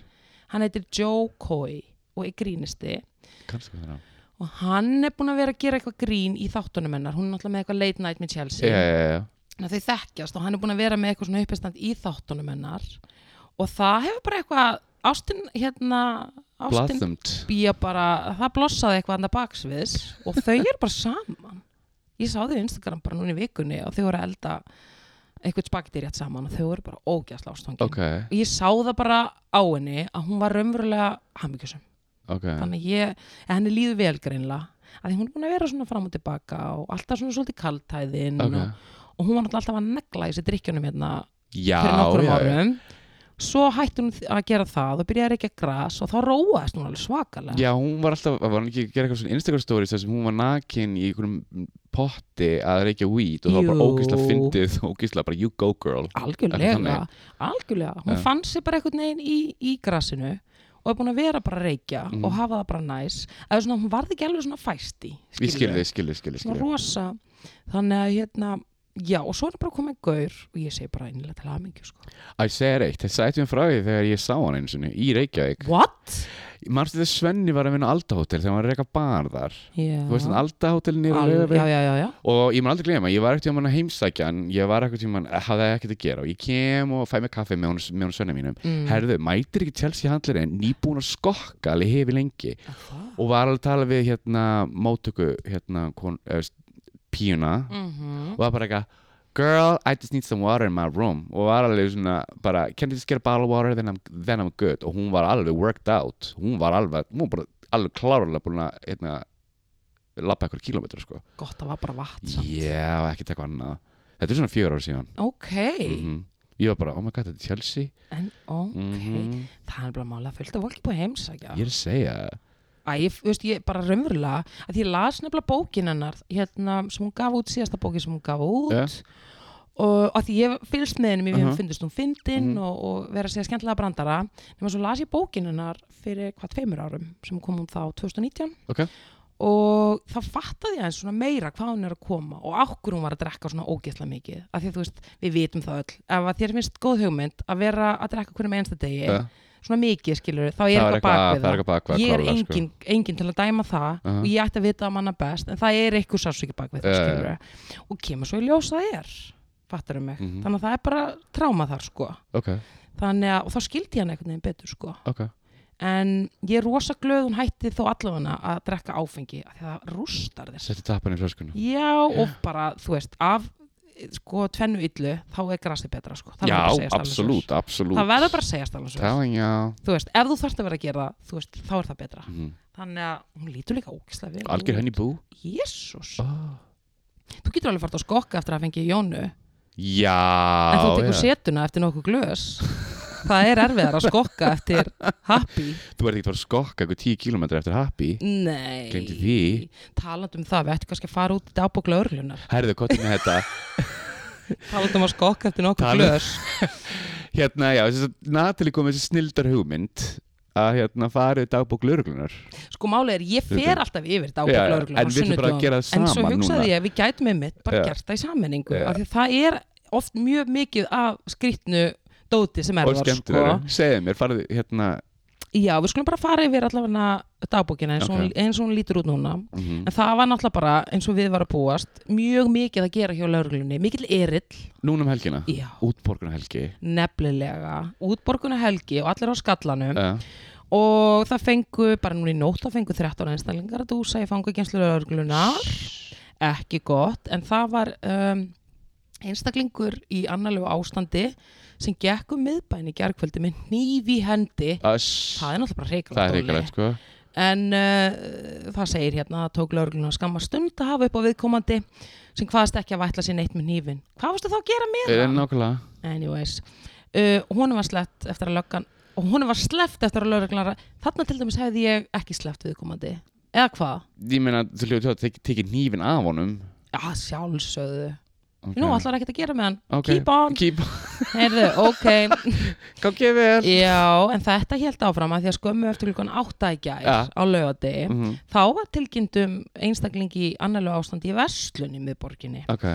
A: hann heitir Joe Coy og er grínisti
B: Kannski hvað það er.
A: og hann er búin að vera að gera eitthvað grín í þáttunum hennar, hún er náttúrulega með eitthvað late night með Chelsea
B: Já, já, já.
A: Þannig að þau þekkjast og hann er búin að vera með eitthvað svona uppestand í þáttunum hennar og það hefur bara eitthvað ástin hérna ástin
B: Blossomed.
A: býja bara, það blossaði eitthvað andar baksviðs og þau eru bara saman ég sá þau í Instagram bara núna í vikunni og þau voru að elda eitthvað spagtir rétt saman og þau voru bara ógæsla ástangin
B: Ok,
A: og ég sá það bara á henni að hún var raunverulega hambyggjusum
B: ok.
A: þannig að ég, en henni líður vel greinlega að því hún er búin að vera svona fram og tilbaka og alltaf svona svolítið kaltæðin
B: Ok.
A: og, og hún var náttúrulega alltaf að negla í sér drikkjunum hérna
B: Já,
A: fyrir nokkurum
B: já, já.
A: árum svo hætti hún að gera það og byrjaði ekki að reykja gras og þá róaðist hún alveg svakalega
B: Já, hún var alltaf, var hún ekki að gera eitthvað svona Instagram stories þar sem hún var nakin í einhverjum potti að reykja weed og það var
A: Jú.
B: bara
A: Ah,
B: ógislega fyndið, ógislega bara you go girl. Ekki
A: algjörlega,
B: þannig.
A: algjörlega hún
B: Já.
A: fann sér bara einhvern veginn í, í grasinu og er búin að vera bara að reykja
B: Mhm.
A: og hafa það bara næs eða svona hún varði ekki alveg svona fæsti
B: Ég skil þið, skil þið, skil þið, skil
A: svona rosa þannig að hérna já og svo er bara komið gaur og ég segi bara einlega til hamingju sko
B: Æ, segir eitt, það sætti mér um frá því þegar ég sá hann einu sinni í Reykjavík.
A: what?
B: Manstu þegar Svenni var að vinna á Alda Hotel þegar hann var að reyka bar þar.
A: Yeah.
B: Þú veist hann Alda Hotel nýra
A: Al, já, já, já, já.
B: og ég mun aldrei gleyma, ég var ekkert tíma að heimsækja hann, ég var ekkert tíma að hafði ekkert að gera og ég kem og fæ mig kaffi með hún, með hún sönni mínum
A: Mm.
B: herðu, mætir ekki Chelsea handlarinn nýbúin að skokka alveg hefi lengi og var alveg að tala við hérna móttöku hérna kon, eh, píuna
A: Mm -hmm.
B: og var bara eitthvað girl, I just need some water in my room og var alveg svona bara can you just get a bottle of water then I'm, then I'm good og hún var alveg worked out hún var alveg, hún var bara alveg klárlega búin að hérna, lappa eitthvað kílómetra sko
A: gott það var bara vatn samt
B: Já, ekkert eitthvað annað Þetta er svona fjör ára síðan
A: ok,
B: Mhm. Ég var bara, oh my god, þetta er Chelsea
A: en ok
B: Mhm.
A: það er bara mála fullt af fólki búið að heimsækja
B: Ég er að segja það.
A: Æ, ég, þú veist, ég bara raunverulega að ég las nefnilega bókin hennar hérna, sem hún gaf út, síðasta bókin sem hún gaf út
B: Ja.
A: og að því ég hef fylgst með henni mér uh
B: Mhm.
A: -huh. finnst hún fyndin og, og vera að segja skemmtilega brandara nema svo las ég bókin hennar fyrir hvað tveimur árum sem kom hún þá 2019
B: Ok.
A: og þá fattaði ég aðeins svona meira hvað hún er að koma og ákkur hún var að drekka svona ógeðslega mikið af því að þú veist, við vitum það öll ef að þér finnst góð hugmynd að vera að drekka hverjum einsta degi
B: Ja.
A: svona mikið skilur þá er
B: það er
A: eitthvað bak
B: eitthvað
A: við
B: það er eitthvað bak við
A: ég er
B: klárlega, sko.
A: engin, engin til að dæma það
B: Aha.
A: og ég ætti að vita að manna best en það er eitthvað sársöki bak við það
B: Já, já,
A: skilur og kemur svo í ljós að það er fattar um mig,
B: Mhm.
A: þannig að það er bara tráma þar sko,
B: ok,
A: þannig að og þá skildi ég hann einhvern veginn betur sko
B: ok,
A: en ég er rosa glöð hún hætti þó allavega að drekka áfengi af því að það rústar þér
B: setja tappan í flöskuna
A: já
B: Eh.
A: og bara, þú veist, af eh, sko tvennu yllu, þá er grasið betra sko, það verður
B: já,
A: bara að segjast alveg svo.
B: absolutt, absolutt
A: það verður bara að segjast alveg svo
B: telling you
A: þú veist, ef þú þarft að vera að gera það, þú veist, þá er það betra
B: Mhm.
A: þannig að hún lítur líka ógislega vel
B: algjör henni bú
A: Jésús,
B: oh.
A: þú getur alveg fært á skokka eftir að fengi Jónu
B: já
A: en þú tekur
B: já.
A: setuna eftir nokkuð glös það er erfiðar að skokka eftir happy
B: þú ert ekki að fara að skokka eitthvað 10 km eftir happy
A: nei,
B: Gleymdi því.
A: talandi um það við ættum kannski að fara út í dagbók lögurlunar
B: herðu, hvað er með þetta
A: talandi um að skokka eftir nokkuð
B: Talandi-
A: glös
B: hérna, já, þess að Natalie kom með þessi snildar hugmynd að hérna farið dagbók lauruglunar
A: sko málið er, ég
B: Þetta-
A: fer alltaf yfir dagbók
B: Já, já,
A: lögurlunar
B: en við ætlum bara að gera það
A: en svo
B: saman
A: hugsaði
B: núna.
A: ég að við gætum með mitt bara
B: Já.
A: gert það í sammenningu
B: Já.
A: af því að það er oft mjög mikið af skrýtnu dóti sem sko. er
B: og skemmtilega, segðu mér, farið hérna
A: Já, við skulum bara fara yfir allavega dagbókina eins og,
B: Ok.
A: hún, eins og hún lítur út núna
B: mhm.
A: en það var náttúrulega bara eins og við var að búast mjög mikið að gera hjá lauruglunni mikill erill,
B: núna um helgina,
A: já,
B: útborguna helgi
A: nefnilega útborguna helgi og allir á skallanum
B: uh,
A: og það fengu, bara núna í nótt það fengu 13 einstaklingar að dúsa í fangagenslu lauruglunar, ekki gott en það var um, einstaklingur í annarlegu ástandi sem gekk um miðbæni gergföldi með hnífi hendi
B: það
A: það er náttúrulega bara reikalegt
B: er reykjulegt sko
A: en uh, það segir hérna að tók laurugluna skamma stund að hafa upp á viðkomandi sem hvaðast ekki að vætla sér neitt með nýfin hvað varstu þá að gera með
B: Eh,
A: hann?
B: nákvæmlega,
A: anyways, uh, honum var sleft eftir að löggan og honum var sleft eftir að lauruglan þarna til dæmis hefði ég ekki sleft viðkomandi eða hvað?
B: ég meina, þú hljóðu til að tekja nýfin af honum
A: Já, sjálfsögðu
B: okay.
A: Nú, allar ekki að gera með hann
B: okay.
A: Keep on,
B: keep
A: heyrðu, ok
B: gangi vel
A: Já, en þetta held áfram að því að skömmu eftir klukkan átta í gær
B: Ja.
A: á laugardegi
B: Mhm,
A: þá var tilkynntum einstaklingi í annarlega ástandi í verslun í miðborginni
B: ok,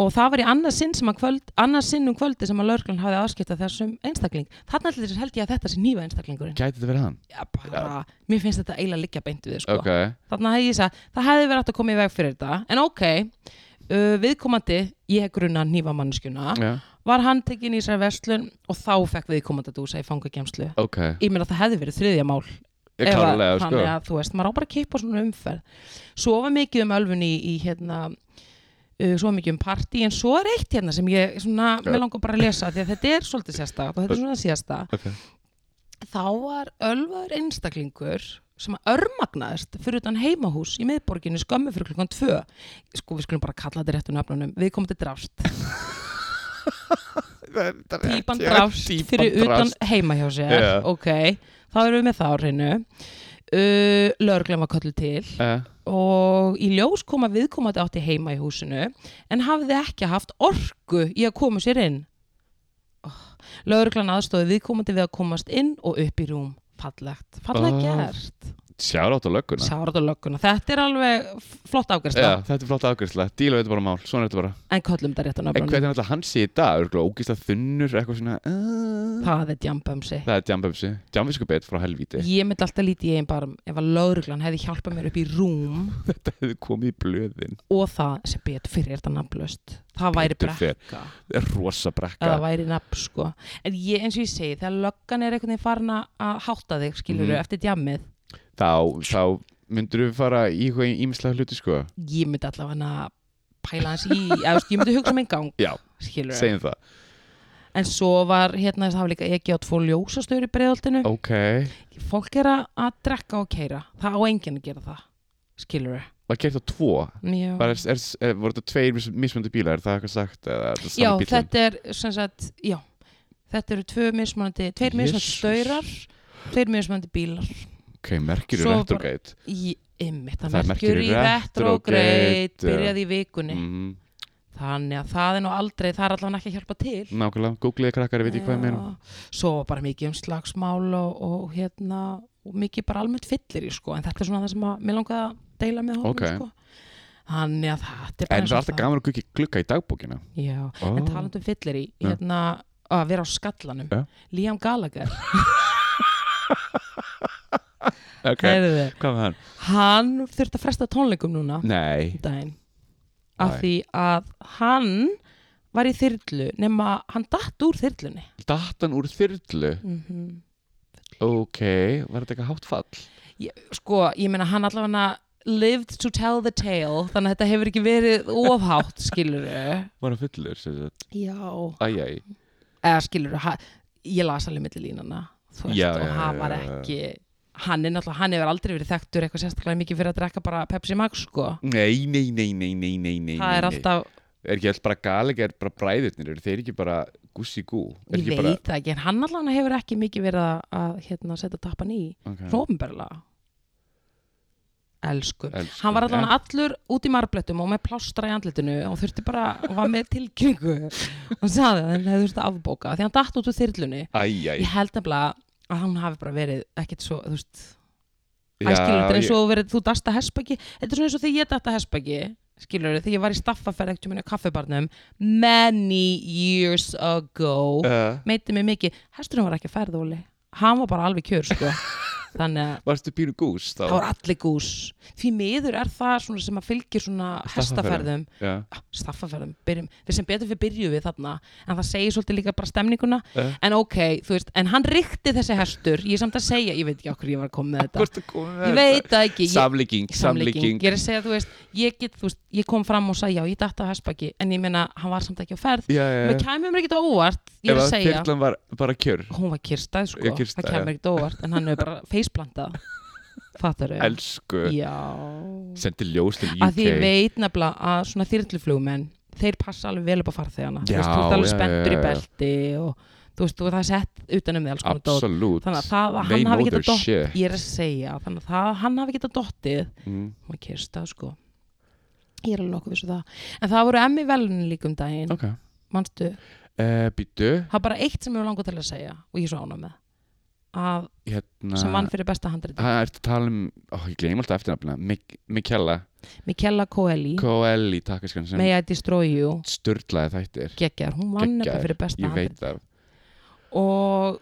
A: og það var í annað sinn, sem að kvöld, annað sinn um kvöldi sem að lörglan hafði afskiptað þessum einstakling þarna allir held ég að þetta sé nýfa einstaklingurinn
B: gæti þetta verið hann
A: ja, bara, mér finnst þetta eiginlega liggja beint við sko.
B: ok,
A: þarna hefði ég sagt, það hefði verið hægt að koma í veg fyrir þetta en ok, uh, viðkomandi ég hef grunna nýfa mannskjuna
B: já,
A: var hann tekinn í sér verslun og þá fekk viðkomandi að dúsa í fangagemslu
B: ok
A: ég meina það hefði verið þriðja mál
B: Ég
A: Ef að-
B: klárlega, sko
A: þannig að þú veist, maður á bara að kippa svona umferð sofa mikið um ölfun í, í hérna uh, sofa mikið um partí, en svo er eitt hérna sem ég svona,
B: Já.
A: mér langar bara að lesa því að þetta er svolítið sérstakt og þetta er svona sérsta
B: Ok.
A: þá var ölfaður einstaklingur sem að örmagnaðist fyrir utan heimahús í miðborginni skömmu fyrir klukkan tvö sko við skulum bara kalla þetta réttu nöfnunum við komum til drást, pípan drást fyrir utan heima hjá sér
B: Já.
A: ok, þá erum við með það á hreinu uh, lögreglum var köllu til
B: uh,
A: og í ljós kom að viðkomandi átti heima í húsinu en hafði ekki haft orku í að koma sér inn. Oh. Lauruglan aðstóði viðkomandi við að komast inn og upp í rúm. Fallegt, fallegt
B: Oh.
A: gert.
B: Sjára átt á lögguna
A: Sárat og lögguna. Þetta er alveg f- flott ágærsla,
B: Já, þetta er flott afgjörsla, díla við þetta bara mál, svona er þetta bara
A: en köllum þetta rétt á
B: En
A: nöfnum.
B: hvernig alltaf hann sé í dag, örgulega ógislega þunnur, eitthvað svona uh,
A: Það er djambömsi.
B: Það er djambömsi, djambiskubitt frá helvíti
A: Ég myndi alltaf lítið í einn barm ef að lauruglan hefði hjálpað mér upp í rúm
B: Þetta hefði komið í blöðin,
A: og það sem betur fyrir er þetta nafnlaust. Það væri
B: Betur fer.
A: brekka.
B: það er rosa
A: að
B: brekka
A: það væri nafn sko en ég, eins og ég segi, þegar löggan er einhvern veginn farin að- að hátta þig, skilur
B: Mhm.
A: eftir djammið,
B: Þá, þá myndur við fara í hvað ímslega hluti sko
A: ég myndi allavega hann að pæla hans í, eða þú veist, ég myndi hugsa um einn gang,
B: Já,
A: skilur
B: segjum það
A: en svo var, hérna, það var líka ekki á tvo ljósastöður í breiðoltinu
B: Ok,
A: fólk er að, að drekka og keira það á enginn að gera það, skilur
B: var gert á tvo
A: Já,
B: Var, er, er, er, voru þetta tveir mis- mismunandi bílar, er það eitthvað sagt eða er þetta
A: já
B: sami bílinn?
A: þetta er sem sagt, já þetta eru tvö mismunandi, tveir mismunandi
B: Jesus.
A: stöðrar tveir mismunandi bílar
B: Ok, ok, merkir
A: Svo
B: eru
A: bara-
B: retrograde
A: í, ymmit, það,
B: Það er
A: merkjur
B: merkjur í
A: í retrograde
B: retrograde, já.
A: byrjaði í vikunni
B: mm,
A: þannig að það er nú aldrei, það er allavega ekki að hjálpa til
B: nákvæmlega, googliði krakkar, ég veit ekki hvað ég meina
A: svo var bara mikið um slagsmál og, og hérna og mikið bara almennt fyllir í sko en þetta er svona það sem að mér langaði að deila með hópum
B: Ok.
A: sko. þannig að þetta er bara
B: en svo alltaf
A: það.
B: gaman að glukki glukka í dagbókina
A: Já,
B: Ó.
A: en talandu um fyllir í
B: Já.
A: hérna að vera á skallanum
B: Já.
A: Liam Gallagher,
B: ok,
A: heyrðu
B: hvað var hann?
A: hann þurfti að fresta tónleikum núna
B: nei,
A: daginn af
B: Æ.
A: því að hann var í þyrlu nema hann datt úr þyrlunni
B: datan úr þyrlu
A: mm
B: ok, var þetta eitthvað hátt fall?
A: sko, ég meina hann allavega lived to tell the tale þannig að þetta hefur ekki verið ofhátt skilur
B: var hann fullur, sem sagt,
A: já
B: æjæj
A: eða skilur, ég las alveg milli línana þú veist,
B: Já,
A: og
B: já,
A: hann
B: já,
A: var
B: já, já.
A: ekki hann er náttúrulega, hann hefur aldrei verið þekktur eitthvað sérstaklega mikið fyrir að drekka bara Pepsi Max sko,
B: nei, nei, nei, nei, nei, nei, nei
A: það er
B: nei, nei.
A: alltaf
B: er ekki alls bara galega, er bara bræðurnir eru þeir ekki bara gussi gú
A: ég
B: er ekki
A: veit
B: bara,
A: það ekki, en hann allavega hefur ekki mikið verið að, að hérna, setja tappan í
B: okay.
A: Rómberlega Elsku.
B: Elsku,
A: Hann var allan
B: já.
A: allur út í marblettum og með plástra í andlitinu og þurfti bara, og var með tilkynningu og sagði að hann hefði þurfti að afbóka því hann datt út úr þyrlunni.
B: æjæj
A: Ég held nefnilega að hann hafi bara verið ekkert svo, þú veist,
B: Já,
A: æskilur þetta er
B: ég-
A: eins og verið þú dasta hespaki þetta er svona eins og þegar ég dasta hespaki skilur þetta, þegar ég var í staffaferð ekkert um henni á kaffibarnum many years ago
B: Uh,
A: meiti mig mikið, hesturinn var ekki að ferð, Óli hann var bara alveg kjör, sko þannig að
B: varstu pínu gús þá?
A: þá er allir gús því miður er það svona sem að fylgir svona hestaferðum,
B: Staffaferðum. Já.
A: Ah, staffaferðum byrjum, við sem betur fyrir byrju við þarna en það segir svolítið líka bara stemninguna
B: Eh.
A: en ok, þú veist, en hann rikti þessi hestur ég er samt að segja, ég veit ekki okkur ég var að koma með þetta
B: Hvort að koma
A: ég
B: með
A: veit það ekki, ég,
B: Samlíking,
A: samlíking
B: samlíking
A: ég er að segja, þú veist, ég get, þú veist ég kom fram og sagði, já, ég datt á hestbaki en ég meina, hann var samt ekki á ferð
B: Já, já,
A: við
B: já
A: kæmum mér ekkert á óvart, ég er
B: Ef
A: að
B: að
A: segja
B: þyrlan var bara kjör
A: hún var kyrstað, sko,
B: Já, kyrrstæð,
A: það kæmur ekkert á óvart en hann er bara faceplantað fattar
B: Elsku
A: Já
B: Sendi ljós til
A: að því ég
B: UK
A: veit nefnilega að svona þyrluflugmenn þeir passa alveg vel upp á farþegana þú
B: Já,
A: veist, þú ert alveg
B: já,
A: spenntur
B: já,
A: í
B: já.
A: belti og þú veist, þú það er sett utan um þig alls konar dót
B: Absolutt
A: þannig að það að
B: They
A: hann hafi
B: know their
A: getað dottið
B: shit.
A: ég er að segja, þannig að það að hann hafi getað dottið
B: Mm.
A: maður kyrstað sko ég er alveg nokkuð vissu það en það voru emmi velunin líka um daginn
B: Ok
A: manstu,
B: uh, Býtu
A: það er bara eitt sem ég var langur til að segja og ég er svo ána með að,
B: Hérna
A: sem vann fyrir besta handriti
B: Það ertu að tala um Ó, ég gleym alltaf eftirnafnina Mik Mikella
A: Mikella Coeli,
B: Coeli Takkaskan sem
A: May I Destroy You
B: Sturlaði þættir
A: geggjar, hún vann
B: Geggjaður.
A: þetta fyrir besta
B: Ég
A: handriti
B: veit það
A: og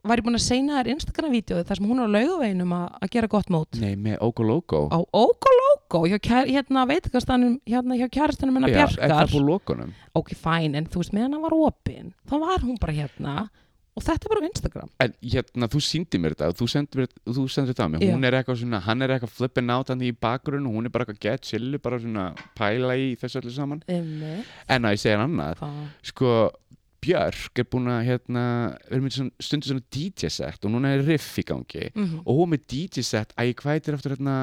A: var ég búin að seina þær Instagram-vídeóið þar sem hún er á laugaveginum að, að gera gott mót
B: Nei, með Ogo Logo
A: á Ókolóko hjá, kær- hérna, veitkastanum, hérna, hjá kærastanum hennar
B: Já, er það
A: Bjarkar
B: búið lokunum?
A: ok, fæn, en þú veist, meðan hann var opinn þá var hún bara hérna og þetta er bara á Instagram
B: En hérna, þú síndi mér þetta og þú sendir mér- þú sendir þetta á mig
A: Já.
B: hún er eitthvað svona, hann er eitthvað flippin át hann í bakgrunn og hún er bara eitthvað gett chillu bara svona pæla í þessu öllu saman
A: Emme,
B: en að ég segja annað,
A: hvað?
B: sko Björk er búin að hérna verið með svona, stundu svona DJ set og núna er riff í gangi
A: Mhm.
B: og hún með DJ set, að ég hvað heitir aftur hérna,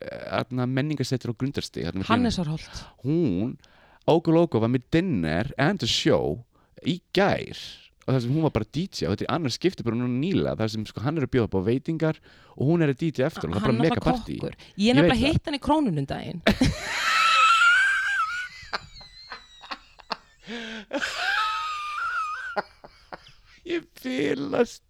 B: eh, hérna menningasettur og grundarstig hérna, með hlýnum?
A: Hannesarholt
B: hún Ogo Logo var með dinner and a show í gær og það sem hún var bara DJ og þetta er annars skipti bara núna nýla þar sem sko, hann er að bjóða upp á veitingar og hún er að DJ eftir og það er bara mega partí
A: ég
B: Ég
A: er nefnilega
B: veit það.
A: hitt hann í krónunum daginn
B: ég fylast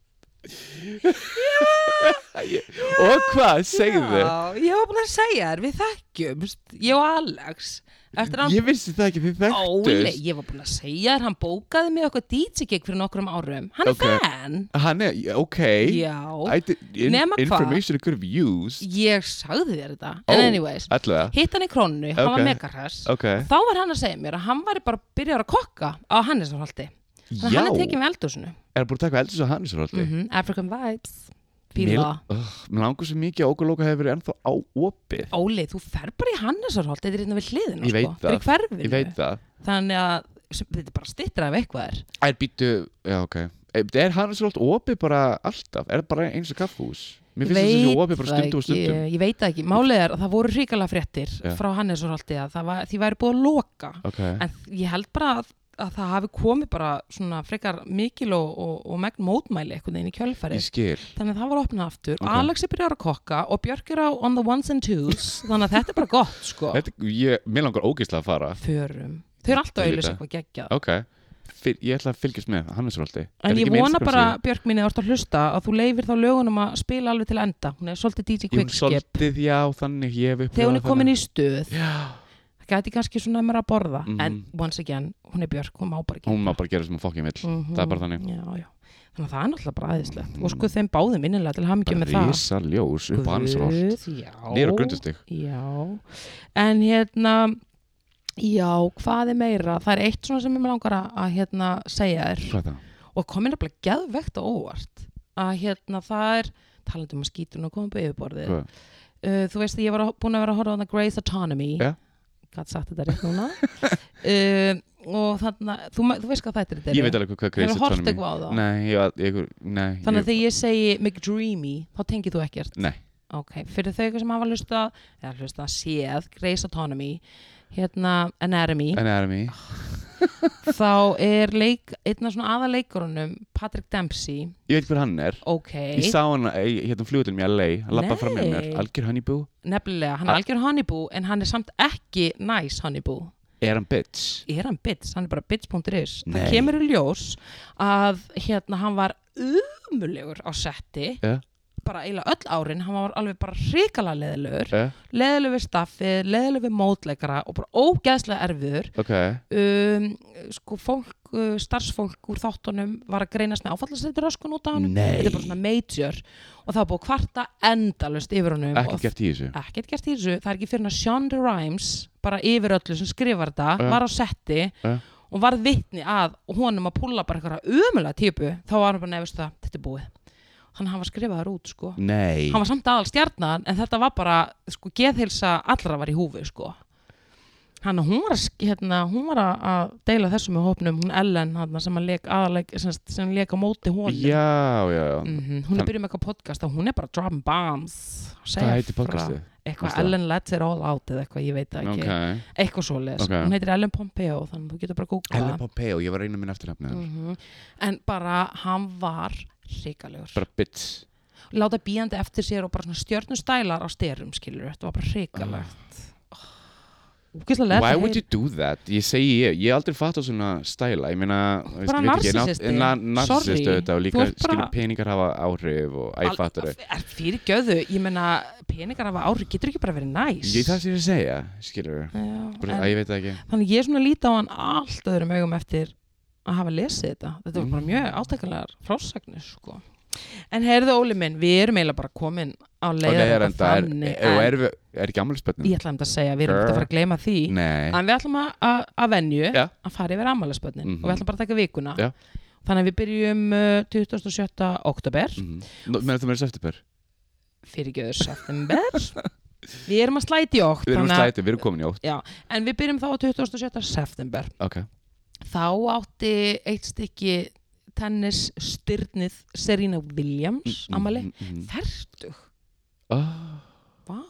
B: Ég- og hvað, segðu
A: Já, ég var búin að segja þér, við þekkjumst ég og Alex eftir að hann
B: ég vissi það ekki, þið
A: Óli,
B: þekktust
A: ég var búin að segja þér, hann bókaði mig okkur DJ-gig fyrir nokkrum árum. Hann
B: Ok.
A: er fan.
B: hann er, ok
A: Já,
B: I did- in,
A: Nema hvað?
B: information could be used
A: ég sagði þér þetta.
B: Ó,
A: En anyways,
B: allavega,
A: hitt hann í krónu, hann
B: Ok.
A: var megarhess.
B: ok
A: Þá var hann að segja mér að hann var bara byrjar að kokka á Hannesarhaldi. Þannig að
B: já,
A: hann er tekið með eldúsinu.
B: er búin að taka eldur svo hann svo alltaf
A: Mm African Vibes. Fíla.
B: uh, Mér langar svo mikið að Ógulóka hefur verið ennþá á opið
A: Óli, þú fer bara í Hannesarhaldi, þetta er hérna við hliðinu.
B: Ég veit
A: sko.
B: það.
A: Þetta er í
B: Ég veit
A: hverfinu.
B: það
A: Þannig að sem- þetta er bara stittra af eitthvað er.
B: Er býtu, já ok Eh, Er hann svo alltaf opið bara alltaf? Er það bara eins og kaffús? Mér finnst
A: Ég
B: þessi
A: veit
B: opið bara
A: það
B: stundum og
A: ekki,
B: stundum
A: Ég veit það ekki, málið er að það voru ríkala fréttir
B: Já.
A: frá Hannesarhaldi að það var, því væri búið að loka
B: Ok,
A: en ég held bara að að það hafi komið bara svona frekar mikil og, og, og megn mótmæli eitthvað inn í kjölfarið
B: ég skil
A: þannig að það var opnað aftur
B: Ok.
A: Alex er byrjar að kokka og Björk er á on the ones and twos þannig að þetta er bara gott sko
B: Þetta, ég, mér langar ógeðslega að fara
A: förum, þau eru alltaf
B: Ég veit
A: auðvitað
B: það.
A: eitthvað geggjað
B: ok, Fyl, ég ætla að fylgjast með hann er svolítið Er
A: en
B: ekki
A: ég
B: með
A: vona
B: Instagram
A: bara
B: síðu?
A: Björk mín eða orðið að hlusta að þú leifir þá lögunum að spila alveg til enda hún er svolítið DJ
B: Jú,
A: Quickskip
B: svolítið, já, þannig ég hef
A: þegar hún er komin
B: þannig.
A: í stuð það gæti kannski svona mér að borða
B: Mhm.
A: en once again, hún er Björk, hún má bara ekki
B: hún má bara gera sem hún fokkin vill
A: Mhm.
B: það er bara þannig.
A: já, já. þannig að það er náttúrulega bara aðeinslegt og sko þeim báðum innilega til hamingjum með það
B: rísa ljós upp á hans roll
A: Guð, já.
B: niður á grundustig
A: Já, en hérna, já, hvað er meira? Það er eitt svona sem ég með langar að, að hérna, segja þér
B: hvað er það?
A: og komin að bara geðvegt og óvart að hérna það er, talandi um að skítun og koma upp á yfirborðið.
B: Hvað?
A: Uh, þú veist, ég var að- búin að vera að horfa á það Grey's Autonomy,
B: Já.
A: gæt sagt þetta rétt núna, uh, og þannig að, þú, ma- þú veist hvað þetta er þetta
B: ég veit alveg hvað- hvað Grey's
A: Hefurðu horft
B: Anatomy-
A: eitthvað á það?
B: nei, ég, ég, nei,
A: Þannig að
B: ég,
A: þegar ég segi McDreamy, þá tengir þú ekkert.
B: Nei.
A: Ok, fyrir þau ykkur sem hafa hlustað, eða hlustað séð, Grey's Autonomy, hérna Anatomy,
B: en erum í
A: þá er leik, einna svona aðaleikurunum, Patrick Dempsey,
B: ég veit hver hann er
A: ok,
B: ég sá hann í- hérna fljóðunum í LA hann lappa fram með mér,
A: Nei.
B: algjör honeyboo
A: nefnilega, hann er
B: A-
A: algjör honeyboo, en hann er samt ekki nice honeyboo.
B: er hann bitch
A: er hann bits, hann er bara bits.is það
B: Nei.
A: kemur í ljós að hérna hann var umulegur á setti
B: Ja.
A: bara eiginlega öll árin, hann var alveg bara hrikala leðilegur,
B: eh?
A: leðilegur við staffið leðilegur við mótleikara og bara ógeðslega erfiður
B: ok,
A: um, sko fólk, uh, starfsfólk úr þáttunum var að greinast með áfallastættir öskun út af hann,
B: Nei.
A: þetta er bara svona major og það var búið að kvarta endalust yfir honum
B: ekkert
A: og
B: gert í þessu
A: ekkert gert í þessu, það er ekki fyrir hann að Shonda Rhimes bara yfir öllu sem skrifar þetta
B: Ja.
A: var á setti
B: Ja.
A: og varð vitni að honum að púla bara einhverja ömulega típu, þá var hann bara nefnist það, þetta er búið hann hann var skrifaður út sko
B: nei,
A: hann var samt aðal stjarnan en þetta var bara sko geðheilsa allra var í húfi sko hann hún var að, sk- hérna, hún var að- að deila þessu með hópnum, hún Ellen hann, sem, að leik, aðaleg, sem, sagt- sem leik á móti honum
B: já, já, já
A: Mhm, hún er byrjuð með eitthvað podcast og hún er bara dropping bombs
B: hvað heitir podcastið?
A: eitthvað
B: Manstu það?
A: Ellen Let's It All Out eða eitthvað, ég veit það ekki,
B: ok,
A: eitthvað svoleiðis
B: Ok.
A: hún heitir Ellen Pompeo, þannig að þú getur bara að googla
B: Ellen Pompeo, ég var að reyna minn eftirnafni mm.
A: Mhm. en bara hann var hrikalegur,
B: bara bitch
A: láta bíjandi eftir sér og bara svona stjörnustælar á styrum skilur, þetta var bara hrikalegt úkislega
B: Ah. Why would you do that? Ég segi ég, ég hef aldrei fatt á svona stæla Ég meina, þú veist,
A: Bara
B: ég veit ekki,
A: narsissisti.
B: na- na- Narsissisti
A: Sorry.
B: auðvitað og
A: Þú
B: líka
A: ert bara-
B: skilur peningar hafa áhrif og æ, fattar þau
A: er fyrir göðu, ég meina peningar af ári getur ekki bara verið næs
B: Ég það sem ég er að segja, skilur
A: Já,
B: Bara,
A: en-
B: Æ, ég veit það ekki
A: þannig ég er svona að líta á hann allt öðrum augum eftir að hafa lesið þetta þetta var bara
B: Mm.
A: mjög átækulegar frásagnir sko. en heyrðu Óli minn við erum eiginlega bara komin á
B: Og leiðar
A: leiðar
B: enda, er,
A: þannig
B: er,
A: en
B: er, er, er ekki ammælisbönnum?
A: ég ætla um þetta að segja, við erum
B: Girl.
A: eftir að fara að gleyma því
B: Nei,
A: en við ætlum að- að að venju
B: Já.
A: að fara yfir ammælisbönnin
B: Mhm.
A: og við ætlum bara að taka vikuna
B: Já.
A: þannig að við byrjum uh, 27. oktober mm.
B: Mhm. Nú, meðan þú meður september
A: fyrirgjöður september við erum að slæti okkt
B: Við erum
A: þannig að-
B: slætið, við erum komin í ótt
A: en við byrjum þá á 27. september
B: Ok,
A: þá átti eitt stykki tennis styrnið Serena Williams
B: Mm,
A: amali,
B: mm, mm, mm.
A: fertug
B: Ah,
A: vá,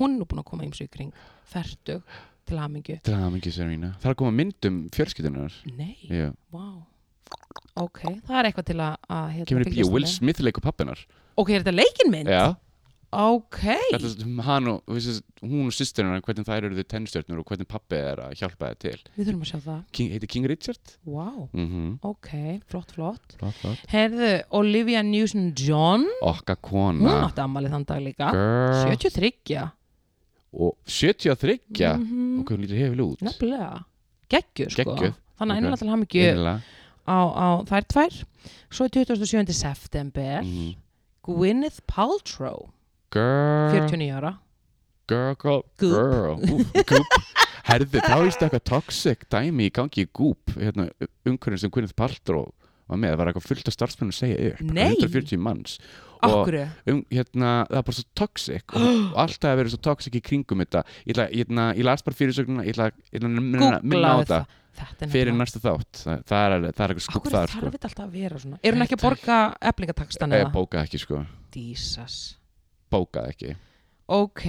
A: hún er búin að koma ýmsu í kring fertug til hamingju
B: Til hamingi Serena Það er að koma um myndum fjörskiptunar
A: nei,
B: yeah.
A: vá ok, það er eitthvað til að, að hérna,
B: Kemur í bíó,
A: fylgjast
B: Will
A: með.
B: Smith leikur pappinar
A: ok, er þetta leikinmynd?
B: Já
A: ok,
B: Þetta er um hann og þú veist, hún og systurinn hennar, hvernig þær eru þau tennstjörnur og hvernig pappi er að hjálpa það til
A: við þurfum að sjá það
B: King, Heitir King Richard?
A: vá,
B: Mm -hmm.
A: ok, flott, flott
B: Flott, flott
A: herðu, Olivia Newson-John
B: Okka
A: hún
B: kona
A: átti amali þann dag líka
B: Mm. Girl
A: 73
B: Og 73 mm.
A: Mhm.
B: Og hvað hún lítur hefur út
A: Nefnilega, geggjuð sko
B: Geggjuð,
A: Þannig að
B: ok.
A: innlega til hamingju
B: Einnilega
A: á, á þær tvær Svo er 27. september
B: Mhm. Mm.
A: Gwyneth Paltrow
B: Girl
A: 49 ára
B: Girl, girl,
A: Goop.
B: girl Úf, Goop Herði, þá er þetta eitthvað toxic dæmi í gangi í Goop hérna, umhverjum sem Gwyneth Paltrow var með, það var eitthvað fullt af starfsmenn að segja upp
A: Nei.
B: 140 manns Og-
A: Akkur
B: um, hérna, það er bara svo toxic og, og alltaf að vera svo toxic í kringum þetta ég, ætla, hérna, ég las bara fyrirsögnuna ég ætla að hérna, minna, minna á
A: googlaði
B: þetta
A: það Þetta er
B: fyrir
A: nefnilega
B: næsta þátt það, það, er, alveg- það er eitthvað skúb
A: Akkur
B: þar
A: þarf
B: sko.
A: þetta alltaf að vera svona Er hún ekki að borga eflingatakstan
B: eða
A: eða?
B: bókað ekki sko
A: Dísas
B: bókað ekki
A: ok,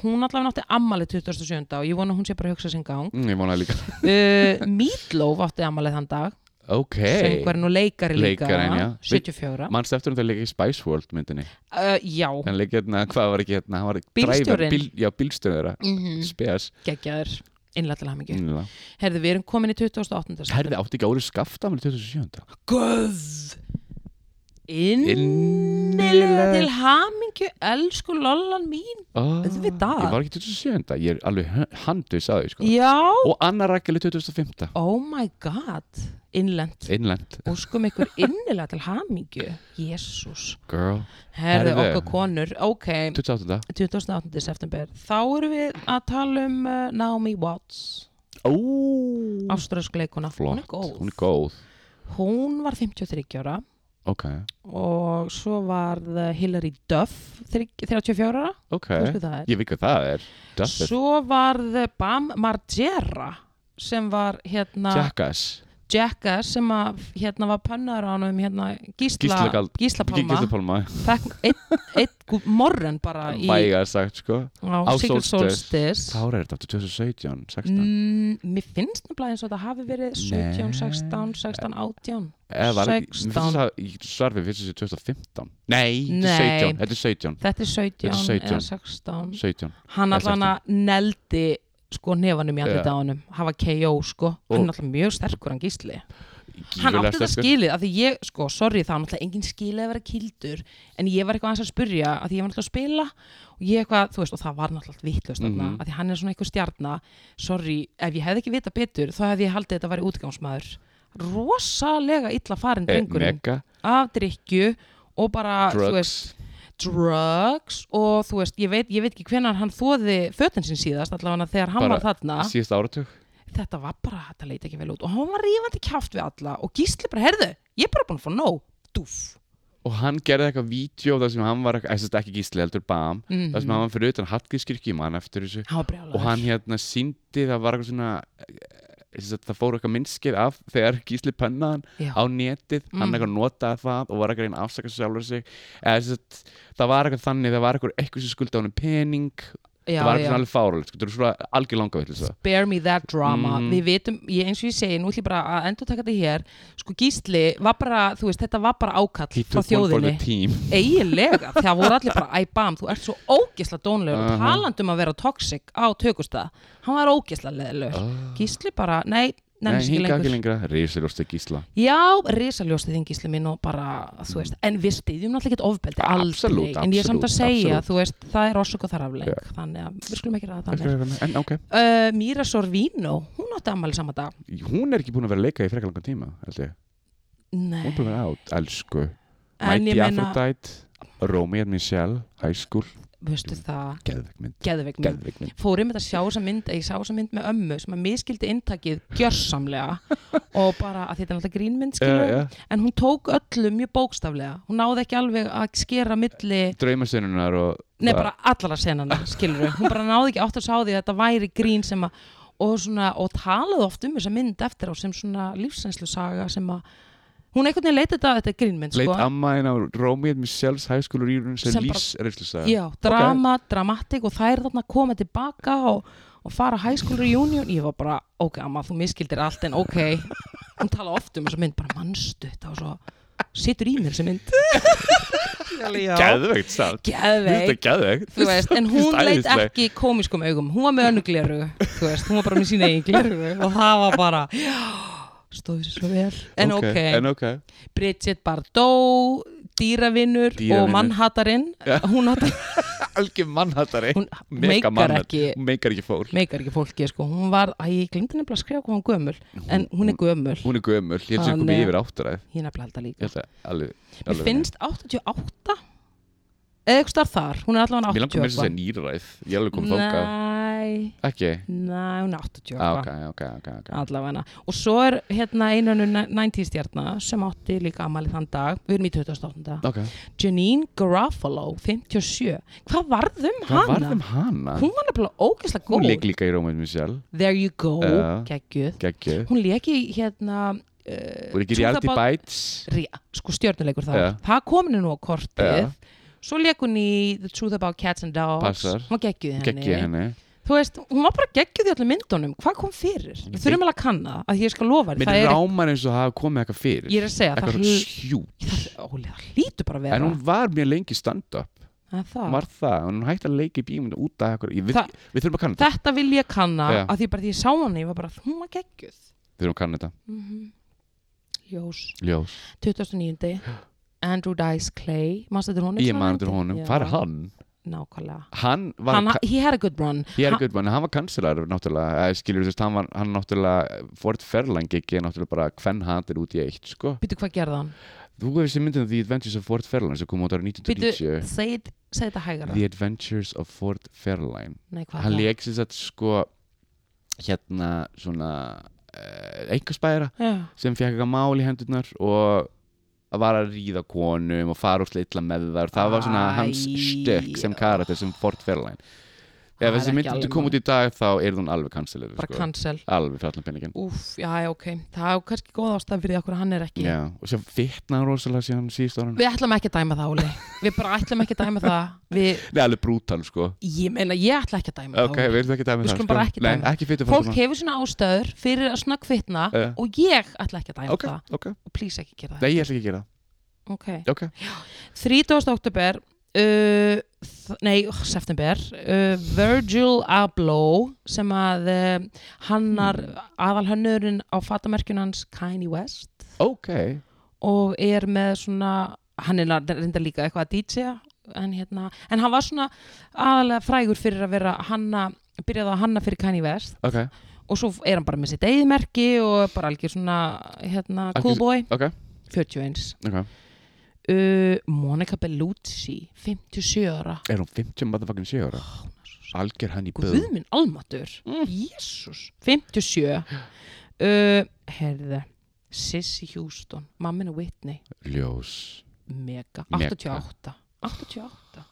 A: hún allavega nátti ammali 27. og ég vona að hún sé bara að hugsa sinn gang
B: Mm, ég vona líka.
A: uh, Meatloaf átti ammali þann dag
B: Ok.
A: söngvarinn og leikari líka
B: Leikarinn, já.
A: 74
B: Manstu eftir hún þegar leikir í Spice World myndinni.
A: uh, já,
B: En leikir hérna, hvað var ekki hérna? hann var
A: Bílstjórinn.
B: driver, Bíl, já, bílstjórinn þeirra.
A: mm
B: Spes.
A: geggjaður innlega til hamingju
B: Mm.
A: herðu, við erum komin í 28.
B: Herði, átti ekki árið skafta með 2007.
A: guð innilega til hamingju elsku lollan mín
B: Oh,
A: Auðvitað.
B: Ég var ekki 2007. Ég er alveg handus að því, sko.
A: já,
B: Og annar rakkeli 2005.
A: oh my god innlend,
B: Inland.
A: óskum ykkur innilega til hamingju jésús
B: Girl.
A: herðu
B: Herðu.
A: okkar konur, ok
B: 2008.
A: 28. september, þá erum við að tala um uh, Naomi Watts
B: Ó.
A: áströsk leikuna, hún
B: Flott.
A: er góð
B: Hún er góð.
A: hún var 53 ára
B: Ok.
A: og svo var Hillary Duff þrygg- 34 ára,
B: Ok.
A: þú veist hvað það er
B: Ég veit hvað það er. Duffet.
A: svo var Bam Margera sem var hérna
B: Jackass.
A: Jackass sem að hérna var pönnaður á hann um hérna Gísla,
B: Gíslagald-
A: Gísla Palma
B: Gíslapalma.
A: fekk einn ein, morren bara í,
B: Væga sagt, sko.
A: á
B: á
A: Sigurd
B: Solstice.
A: Solstis
B: Hvað er þetta? 2017, 16?
A: Mm, mér finnst nefnilega eins og þetta hafi verið 17, 16, 16, 18
B: Eða var ekki- mér
A: 16.
B: finnst það- ég- Svarfið finnst þessi 2015 Nei, þetta er
A: Nei.
B: 17 Þetta er 17
A: Þetta er 17,
B: Þetta er 17.
A: eða 16
B: 17
A: Hann
B: Eða
A: allan að neldi sko nefanum í andlita á honum Hafa KO sko, hann er alltaf mjög sterkur hann gísli Hann
B: Gífurlega
A: átti þetta
B: sterkur.
A: skilið, af því ég, sko, sorry það var náttúrulega engin skilið að vera kildur En ég var eitthvað aðeins að spurja, af því ég var náttúrulega að spila Og ég eitthvað, þú veist, og það var náttúrulega vittlust mm
B: Mhm.
A: Af því hann er svona eitthvað stjarna Sorry, ef ég hefði ekki vitað betur, þá hefði ég haldið þetta að vera útgámsmaður Rosalega illa farin
B: Eh,
A: drengurinn
B: Mega,
A: Af drykju og bara, þú veist
B: drugs
A: drugs og þú veist, ég veit, ég veit ekki hvenar hann þóði fötin sín síðast allavega þegar hann
B: Bara
A: var þarna
B: Síðast áratug
A: þetta var bara, þetta leit ekki vel út og hann var rífandi kjáft við alla og gísli bara, herðu, ég er bara búin að fá nóg dúf
B: Og hann gerði eitthvað vídeo þar sem hann var eitthvað- æ, sem sagt Ekki Gísli heldur Bam
A: Mhm.
B: Þar sem hann var fyrir utan Hallgrímskirkju mann eftir þessu
A: hann var
B: Og hann
A: brjálaður
B: hérna síndi Það var eitthvað svona eh, sem sagt, Það fór eitthvað minnskið af Þegar Gísli pönnaðan
A: Já. Mhm.
B: á netið Hann eitthvað notaði það Og var eitthvað að reyna að afsaka sjálfur sig Eða, sem sagt, Það var eitthvað þannig Það var eitthvað eitthvað sem skuldi á hann pening
A: já,
B: það var
A: já.
B: eitthvað alveg fárulegt, sko, þetta er svona algjör langa vill
A: spare me that drama
B: Mhm.
A: við vitum, ég, eins og ég segi, nú ætlum ég bara að endur taka þetta hér, sko gísli var bara, þú veist, þetta var bara ákall frá þjóðinni
B: team
A: eiginlega, það voru allir bara æ bam, þú ert svo ógisla dónlegur uh
B: Aha.
A: talandum að vera toxic á tökustað hann var ógisla leðilegur Gísli bara, nei,
B: Ah, Nei,
A: nefnir ekki
B: hinga ekki
A: lengur
B: lengra, risaljósti gísla
A: Já, risaljósti þín Gísli minn og bara, þú veist, en við stýðjum náttúrulega ekkert ofbeldi, aldrei,
B: Absolút,
A: en ég er samt að
B: absolút,
A: segja,
B: absolút.
A: þú veist, það er orsök og þar afleik, þannig að við skulum ekki ræða það mér.
B: En ok,
A: Uh, Míra Sorvino, hún átti ammæli sama dag.
B: hún er ekki búin að vera að leika í frekar langan tíma held ég, hún
A: Nei,
B: er búin að vera átt, elsku
A: en ég
B: Mighty
A: meina,
B: Aphrodite, Romeo and Michelle High School,
A: veistu það,
B: geðvegg mynd
A: geðveik minn.
B: geðvegg mynd,
A: Fór einmitt að sjá þessa mynd, ég sá þessa mynd með ömmu sem að miskildi inntakið gjörsamlega og bara að þetta er náttúrulega grínmynd skilur,
B: uh, yeah.
A: en hún tók öllu mjög bókstaflega, hún náði ekki alveg að skera milli
B: draumastununar og
A: Nei,
B: það-
A: bara allara senana, skilur við. Hún bara náði ekki átt að sá því að þetta væri grín sem að, og svona, og talaði oft um þessa mynd eftir á sem svona lífsreynslu saga sem að, hún einhvern veginn leiti þetta að þetta er grínmynd, sko.
B: leit amma en á Romeo and Michelle's High School og Rýrun sem
A: Sem bara-
B: lýsreyslu
A: Já, drama, dramatik og þær þarna koma tilbaka og, og fara high school reunion. Ég var bara, ok, amma, þú miskildir allt en ok. Hún talaði oft um þessa mynd, bara mannstu þetta og svo situr í mér sem mynd.
B: geðvegg samt, þetta
A: Geðveik.
B: er geðvegg
A: þú veist, en hún
B: Finnst
A: leit
B: æðisleg.
A: ekki komiskum augum hún var með önnu gleru, þú veist, hún var bara með sína eigin gleru og það var bara já, stóði sér svo vel en ok,
B: en ok,
A: Bridget Bardot dýravinnur og
B: Dýravinur.
A: mannhattarinn hún, hattar,
B: algjör mannhattari
A: hún meikar
B: Mega mannhatt-
A: ekki
B: hún meikar ekki fólk
A: meikar ekki fólki, sko, hún var að ég glinda nefnilega að skrifa hvað hún er gömul en hún er gömul,
B: hún er gömul, ég held sem
A: Þannig-
B: hún komið yfir áttaræð
A: ég er nefnilega held að
B: ég
A: líka
B: held að alveg
A: mér finnst 88 eða eitthvað starf þar, hún er allavega
B: mér langar
A: 80
B: mér að segja
A: eitthvað.
B: nýræð ég er alveg komið þóka
A: Næ,
B: ekki,
A: næ, hún er 80
B: ah,
A: eitthvað.
B: ok, ok, ok, okay.
A: allavega og svo er hérna einanu 90s stjarnar sem átti líka amalið þann dag við erum í 2008.
B: ok,
A: Janine Garofalo 57, hvað varð um
B: hvað var
A: hana?
B: þeim hana?
A: Hún var nefnilega ógeðslega
B: hún
A: góð
B: leik líka í Rómið Michelle
A: There you go,
B: Já.
A: geggjuð
B: geggju,
A: hún leik í hérna uh,
B: hún er ekki
A: Truth
B: í Arti
A: About-
B: Bites
A: Rí- sko stjörnuleikur það
B: Já.
A: það kominu nú á kortið
B: Já.
A: svo leik hún í The Truth About Cats and Dogs
B: Passar.
A: hún var geggjuð í henni.
B: geggi henni
A: þú veist, hún var bara geggjuð í öllum myndunum hvað kom fyrir? Við þurfum alveg að kanna það, að ég skal lofa þér,
B: Mér
A: það er
B: rámar eins og hafa komið eitthvað fyrir
A: ég er að segja, það,
B: Eitthvað
A: hl-
B: sjút
A: það, óli, það lítur bara að vera
B: En hún var mjög lengi í stand-up
A: Það er það.
B: Hún var það, hún hætti að leika í bíum út af eitthvað, ég, við,
A: Það-
B: við þurfum að kanna þetta
A: þetta vil ég kanna
B: Já.
A: að því bara því ég sá hana, ég var bara, hún var geggjuð
B: Við þurfum að kanna þetta,
A: Mhm. Ljós,
B: ljós
A: 2009 Andrew Dice Clay, mannstu þetta honum?
B: Ég mann til honum, hvað er hann?
A: Nákvæmlega
B: Hann var,
A: hann, He had a good run
B: ég er gutt mann, hann var kanselar náttúrulega, eða skilur þú veist, hann var hann náttúrulega, Ford Fairland ekki náttúrulega bara hvern hatir út í eitt, sko
A: Býtu hvað gerði hann?
B: Þú hefur sér myndin The Adventures of Ford Fairline sem kom út árið
A: Býtu,
B: 1990
A: segi segi þetta hægara
B: The Adventures of Ford Fairline
A: Nei, hvað
B: hann
A: er það?
B: leik sér þetta sko hérna svona uh, einhverspæra
A: Já,
B: sem fekk eitthvað mál í hendurnar og var að ríða konum og fara úr illa með þar það var svona
A: Æ,
B: hans styrk sem karakter sem Ford Fairline
A: Það
B: ef
A: er
B: þessi
A: ekki
B: mynd myndi
A: alveg
B: koma
A: nóg.
B: út í dag þá er hún alveg kansilir
A: bara
B: sko.
A: cancel
B: alveg fjallan penningin
A: Úf, já, já, ok Það er kannski góð ástæð fyrir því okkur hann er ekki
B: Já, og sem fitna rosalega síðan síðust ára
A: Við ætlum ekki að dæma það, Óli Við bara ætlum ekki að dæma það Við,
B: Nei, alveg brútal sko
A: Ég meina, ég ætla ekki að dæma
B: Ok,
A: það
B: við erum ekki dæmið
A: Við
B: það sko.
A: skulum bara ekki
B: Nei,
A: dæma það.
B: ekki fitu
A: Óli. Fólk hefur svona ástæður fyrir að snöggfitna
B: Já.
A: og ég ætla ekki að dæma
B: Ok,
A: það
B: ok
A: og please ekki gera það
B: Nei, ég ætla ekki að gera
A: okay.
B: það Ok,
A: 30. oktober uh, þ- nei, uh, september uh, Virgil Abloh sem að uh, hannar mm. aðalhönnurinn á fatamerkjun hans Kanye West
B: ok
A: og er með svona hann er ná- reyndar líka eitthvað að DJ en, hérna, en hann var svona aðalega frægur fyrir að vera hanna byrjaði að hanna fyrir Kanye West
B: Ok,
A: og svo er hann bara með sitt eigiðmerki og er bara algjör svona hérna,
B: Algjör-
A: coolboy,
B: ok,
A: 41
B: ok
A: uh, Monica Bellucci 57 ára
B: Er hún 50 motherfucking 7 ára? Alger hann í böð
A: Guðminn almatur
B: Mm.
A: Jésús, 57 uh, Herðu Sissy Houston, mammin og Whitney
B: Ljós
A: Mega,
B: Mega.
A: 88 88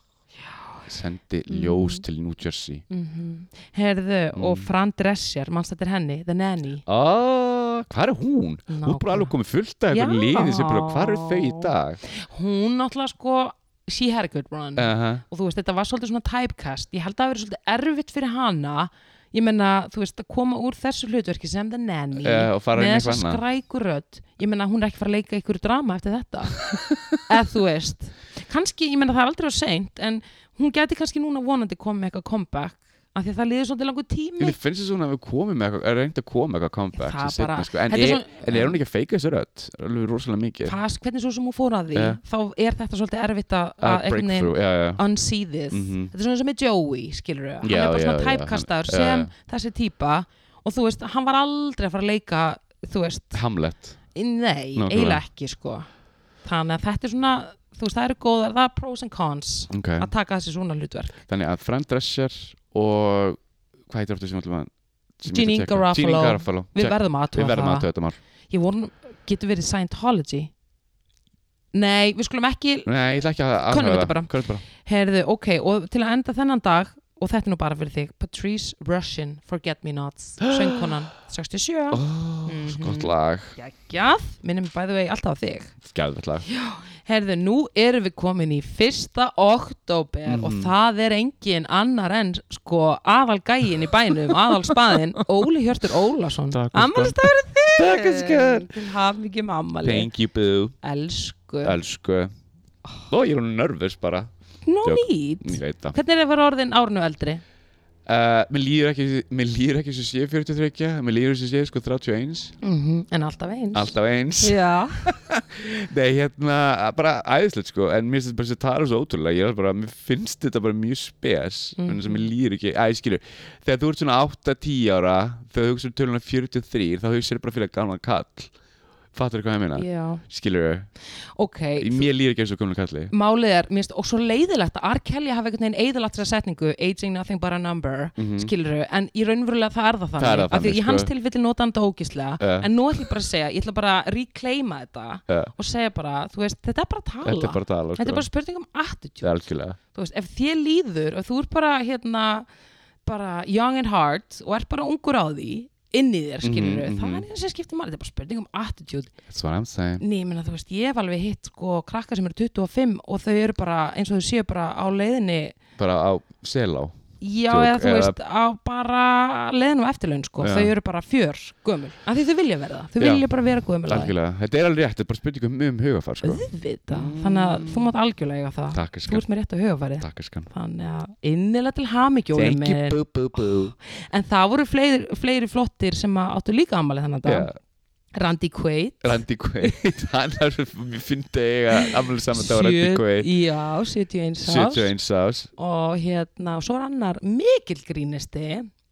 B: Sendi ljós til New Jersey
A: mm Herðu, og
B: Mm.
A: Fran Drescher mannstættir henni, The Nanny
B: Ah, hvað er hún? Þú er bara alveg
A: Nákvæmlega.
B: komið fullt af
A: Já.
B: einhverju liði sem bara, hvað eru þau í dag?
A: Hún náttúrulega sko She had a good run
B: Uh -huh.
A: og þú veist, þetta var svolítið svona typecast ég held að það hafi verið svolítið erfitt fyrir hana ég menna, þú veist, að koma úr þessu hlutverki sem það nenni
B: Eh, og fara
A: með
B: inn í
A: þessa
B: eitthvað annað.
A: skrækurödd ég menna, hún er ekki fara að leika ykkur drama eftir þetta eða þú veist kannski, ég menna, það er aldrei á seint en hún geti kannski núna vonandi komið með eitthvað comeback af því að það liður svolítið langur tími
B: Mér finnst þess að við komum með eitthvað, reyndi að koma með eitthvað comeback
A: Það
B: sem
A: bara-
B: seinna, sko. en,
A: Þetta er
B: er,
A: svona-
B: en er hún ekki að feika þessu rödd? Alveg rosalega mikið
A: það, hvernig svo sem hún fór að því
B: Eh.
A: þá er þetta svolítið erfitt að-
B: Að
A: að einhvern veginn
B: Breakthrough, já, já
A: unsee this
B: Mhm.
A: þetta er svona sem með Joey, skilur við hann
B: Já,
A: er bara svona
B: já, já, hann-
A: tæpkastar
B: já,
A: sem
B: já.
A: þessi típa og þú veist, hann var aldrei að fara að leika þú veist,
B: Hamlet
A: nei,
B: Nákvæmlega.
A: eiginlega ekki sko. þannig að þetta er svona þú veist, það eru góðar, það er pros and cons
B: okay.
A: að taka þessi svona hlutverk
B: Þannig að Fran Drescher og hvað heitir aftur sem alltaf maður? sem ég ætla að
A: Jeanine
B: checka?
A: Garofalo.
B: Jeanine Garofalo
A: við
B: Check.
A: verðum að
B: Við
A: athuga
B: verðum að
A: það
B: athuga þetta mál
A: ég voru, getur verið Scientology nei, við skulum ekki
B: Nei, ég ætla ekki að aðhuga
A: Könnum þetta bara.
B: Könnum bara
A: Herðu, ok, og til að enda þennan dag og þetta er nú bara fyrir þig Patrice Rushin, Forget Me Nots söngkonan, 67
B: oh, Skott
A: Mhm.
B: lag,
A: Gægjað, minnum bæðu vegi alltaf á þig
B: gæðvett lag
A: Herðu, nú erum við komin í fyrsta oktober og það er engin annar en sko aðal gægin í bænum, aðal spaðin Óli Hjörtur Ólason
B: Takk, elskan.
A: Amalistafur þig
B: Takk, elskan.
A: Til hafmyggjum ammali
B: Thank you boo,
A: Elsku
B: elsku Ó, ég er hún nervus bara
A: No
B: Djók. Ég
A: need
B: veit það
A: Hvernig er það að vera orðin árnu eldri?
B: uh, Mér líður ekki, mér líður ekki sem sé 43 Mér líður sem sé sko 31
A: En alltaf eins
B: Alltaf eins
A: Já
B: Nei, hérna, bara æðislegt sko En mér finnst bara þessi tala svo ótrúlega Ég er bara, mér finnst þetta bara mjög spes
A: Mhm.
B: mm -hmm. Mér líður ekki, að ég skilur Þegar þú ert svona 8-10 ára Þegar þú hugsa um töluna 43 Þá hugsa þér bara fyrir að gamla kall Fattur hvað ég meina?
A: Já
B: Skilur,
A: Ok,
B: mér líður ekki eins og gamla kalli
A: málið er, mér finnst, og svo leiðilegt að R. Kelly hafi einhvern veginn eiðilagt þessa setningu aging nothing but a number, mm en í raunverulega það er það þannig,
B: Mhm. Það er það
A: af því
B: þannig,
A: í hans
B: sko.
A: tilfelli nota hann þetta ógislega
B: Ja.
A: en nú ætlum ég bara að segja, ég ætla bara að reclaima þetta
B: Ja.
A: og segja bara, þú veist, þetta er bara tala
B: Þetta er bara tala sko
A: Þetta er bara spurning um attitude
B: Það er algjörlega
A: þú veist, ef þér líður og þú ert bara hérna, bara young and hard og ert bara ungur á því inn í þér skilur mm
B: Mhm,
A: það
B: mhm.
A: er eins og skiptir máli, þetta er bara spurning um attitude
B: That's what I'm saying
A: Nei, ég meina, þú veist, ég hef alveg hitt sko krakka sem eru 25 og þau eru bara eins og þau séu bara á leiðinni
B: Bara á selá
A: já,
B: Djók,
A: eða þú
B: eða-
A: veist, á bara leiðinum eftirlaun sko,
B: Já.
A: þau eru bara fjör gömul, af því þau vilja verða, þau
B: Já.
A: vilja bara vera gömul að því.
B: Algjörlega, þetta er alveg rétt, þetta er bara spurning um, um hugafar sko.
A: auðvitað, þannig að þú mátt algjörlega eiga það,
B: Takk
A: þú
B: eskan,
A: ert með rétt á hugafærið
B: takk eskan
A: þannig að innilega til hamingjóðum
B: Thank you boo boo boo
A: en það voru fleiri, fleiri flottir sem að áttu líka ammali þannig að
B: yeah.
A: yeah. Randy Quaid
B: Randy Quaid, hann er mér fyndi að eiga afmjölu saman dag Randy
A: sjö-
B: Quaid
A: já, 71 árs
B: 71 ás
A: og hérna, og svo er annar mikil grínisti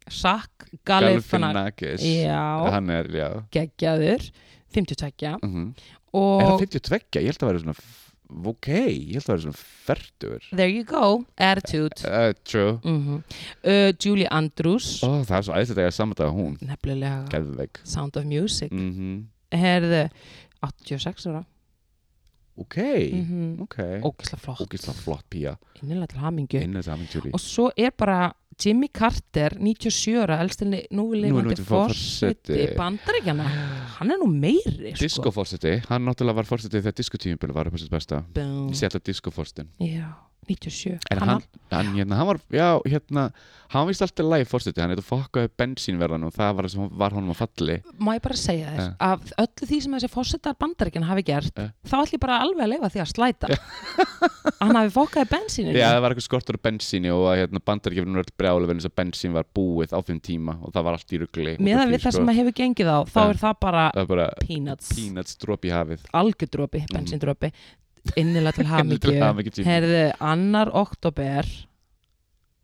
A: Sack Galifianakis
B: Galifianakis
A: já,
B: hann er, já
A: geggjaður 52
B: mm er hann
A: og
B: 52? Ég held að vera svona f- ok, ég held að vera svona færtur
A: there you go, attitude
B: uh, true
A: mm uh, Julie Andrews
B: Ó, það er svo aðeins að eiga saman dag og hún
A: nefnilega
B: Geðveg
A: Sound of Music
B: mm
A: herðu, 86 ára
B: ok,
A: mm -hmm.
B: ok
A: ógislega flott,
B: ógislega flott pía
A: innilega til hamingju
B: inn að saman tjúli
A: og svo er bara Jimmy Carter 97 ára, elstinni núvilefandi
B: Núlifandi
A: forseti
B: forseti.
A: bandaríkjana hann er nú meiri
B: Disco
A: sko.
B: fórseti, hann náttúrulega var fórseti þegar disco tíumbili var upp á sitt besta
A: Búm.
B: ég sé alltaf disco fórsetin
A: já, 97
B: en hann, hann, hérna, hann var, já, hérna hann vist alltaf læg fórseti, hann eitthvað fokkaði bensínverðan og það var, það sem var honum að falli
A: má ég bara segja þér
B: Eh.
A: að öllu því sem þessi fórsetar bandaríkjana hafi gert
B: Eh.
A: þá ætlum ég bara alveg að leifa því að slæta hann hafi fokkaði bensíninu
B: Já, það var eitthvað skortur á bensíni og að, hérna, bandaríkjöfnum var brjálega vegna þess að bensín var búið á þeim tíma og það var allt í rugli
A: meðan við
B: Og
A: það sem að hefur gengið á þá
B: Eh.
A: er það bara
B: það er bara
A: sko. peanuts,
B: peanuts drop í hafið
A: algjördrópi bensíndrópi, innilega til hamingju
B: hamingju.
A: herðu, annar oktober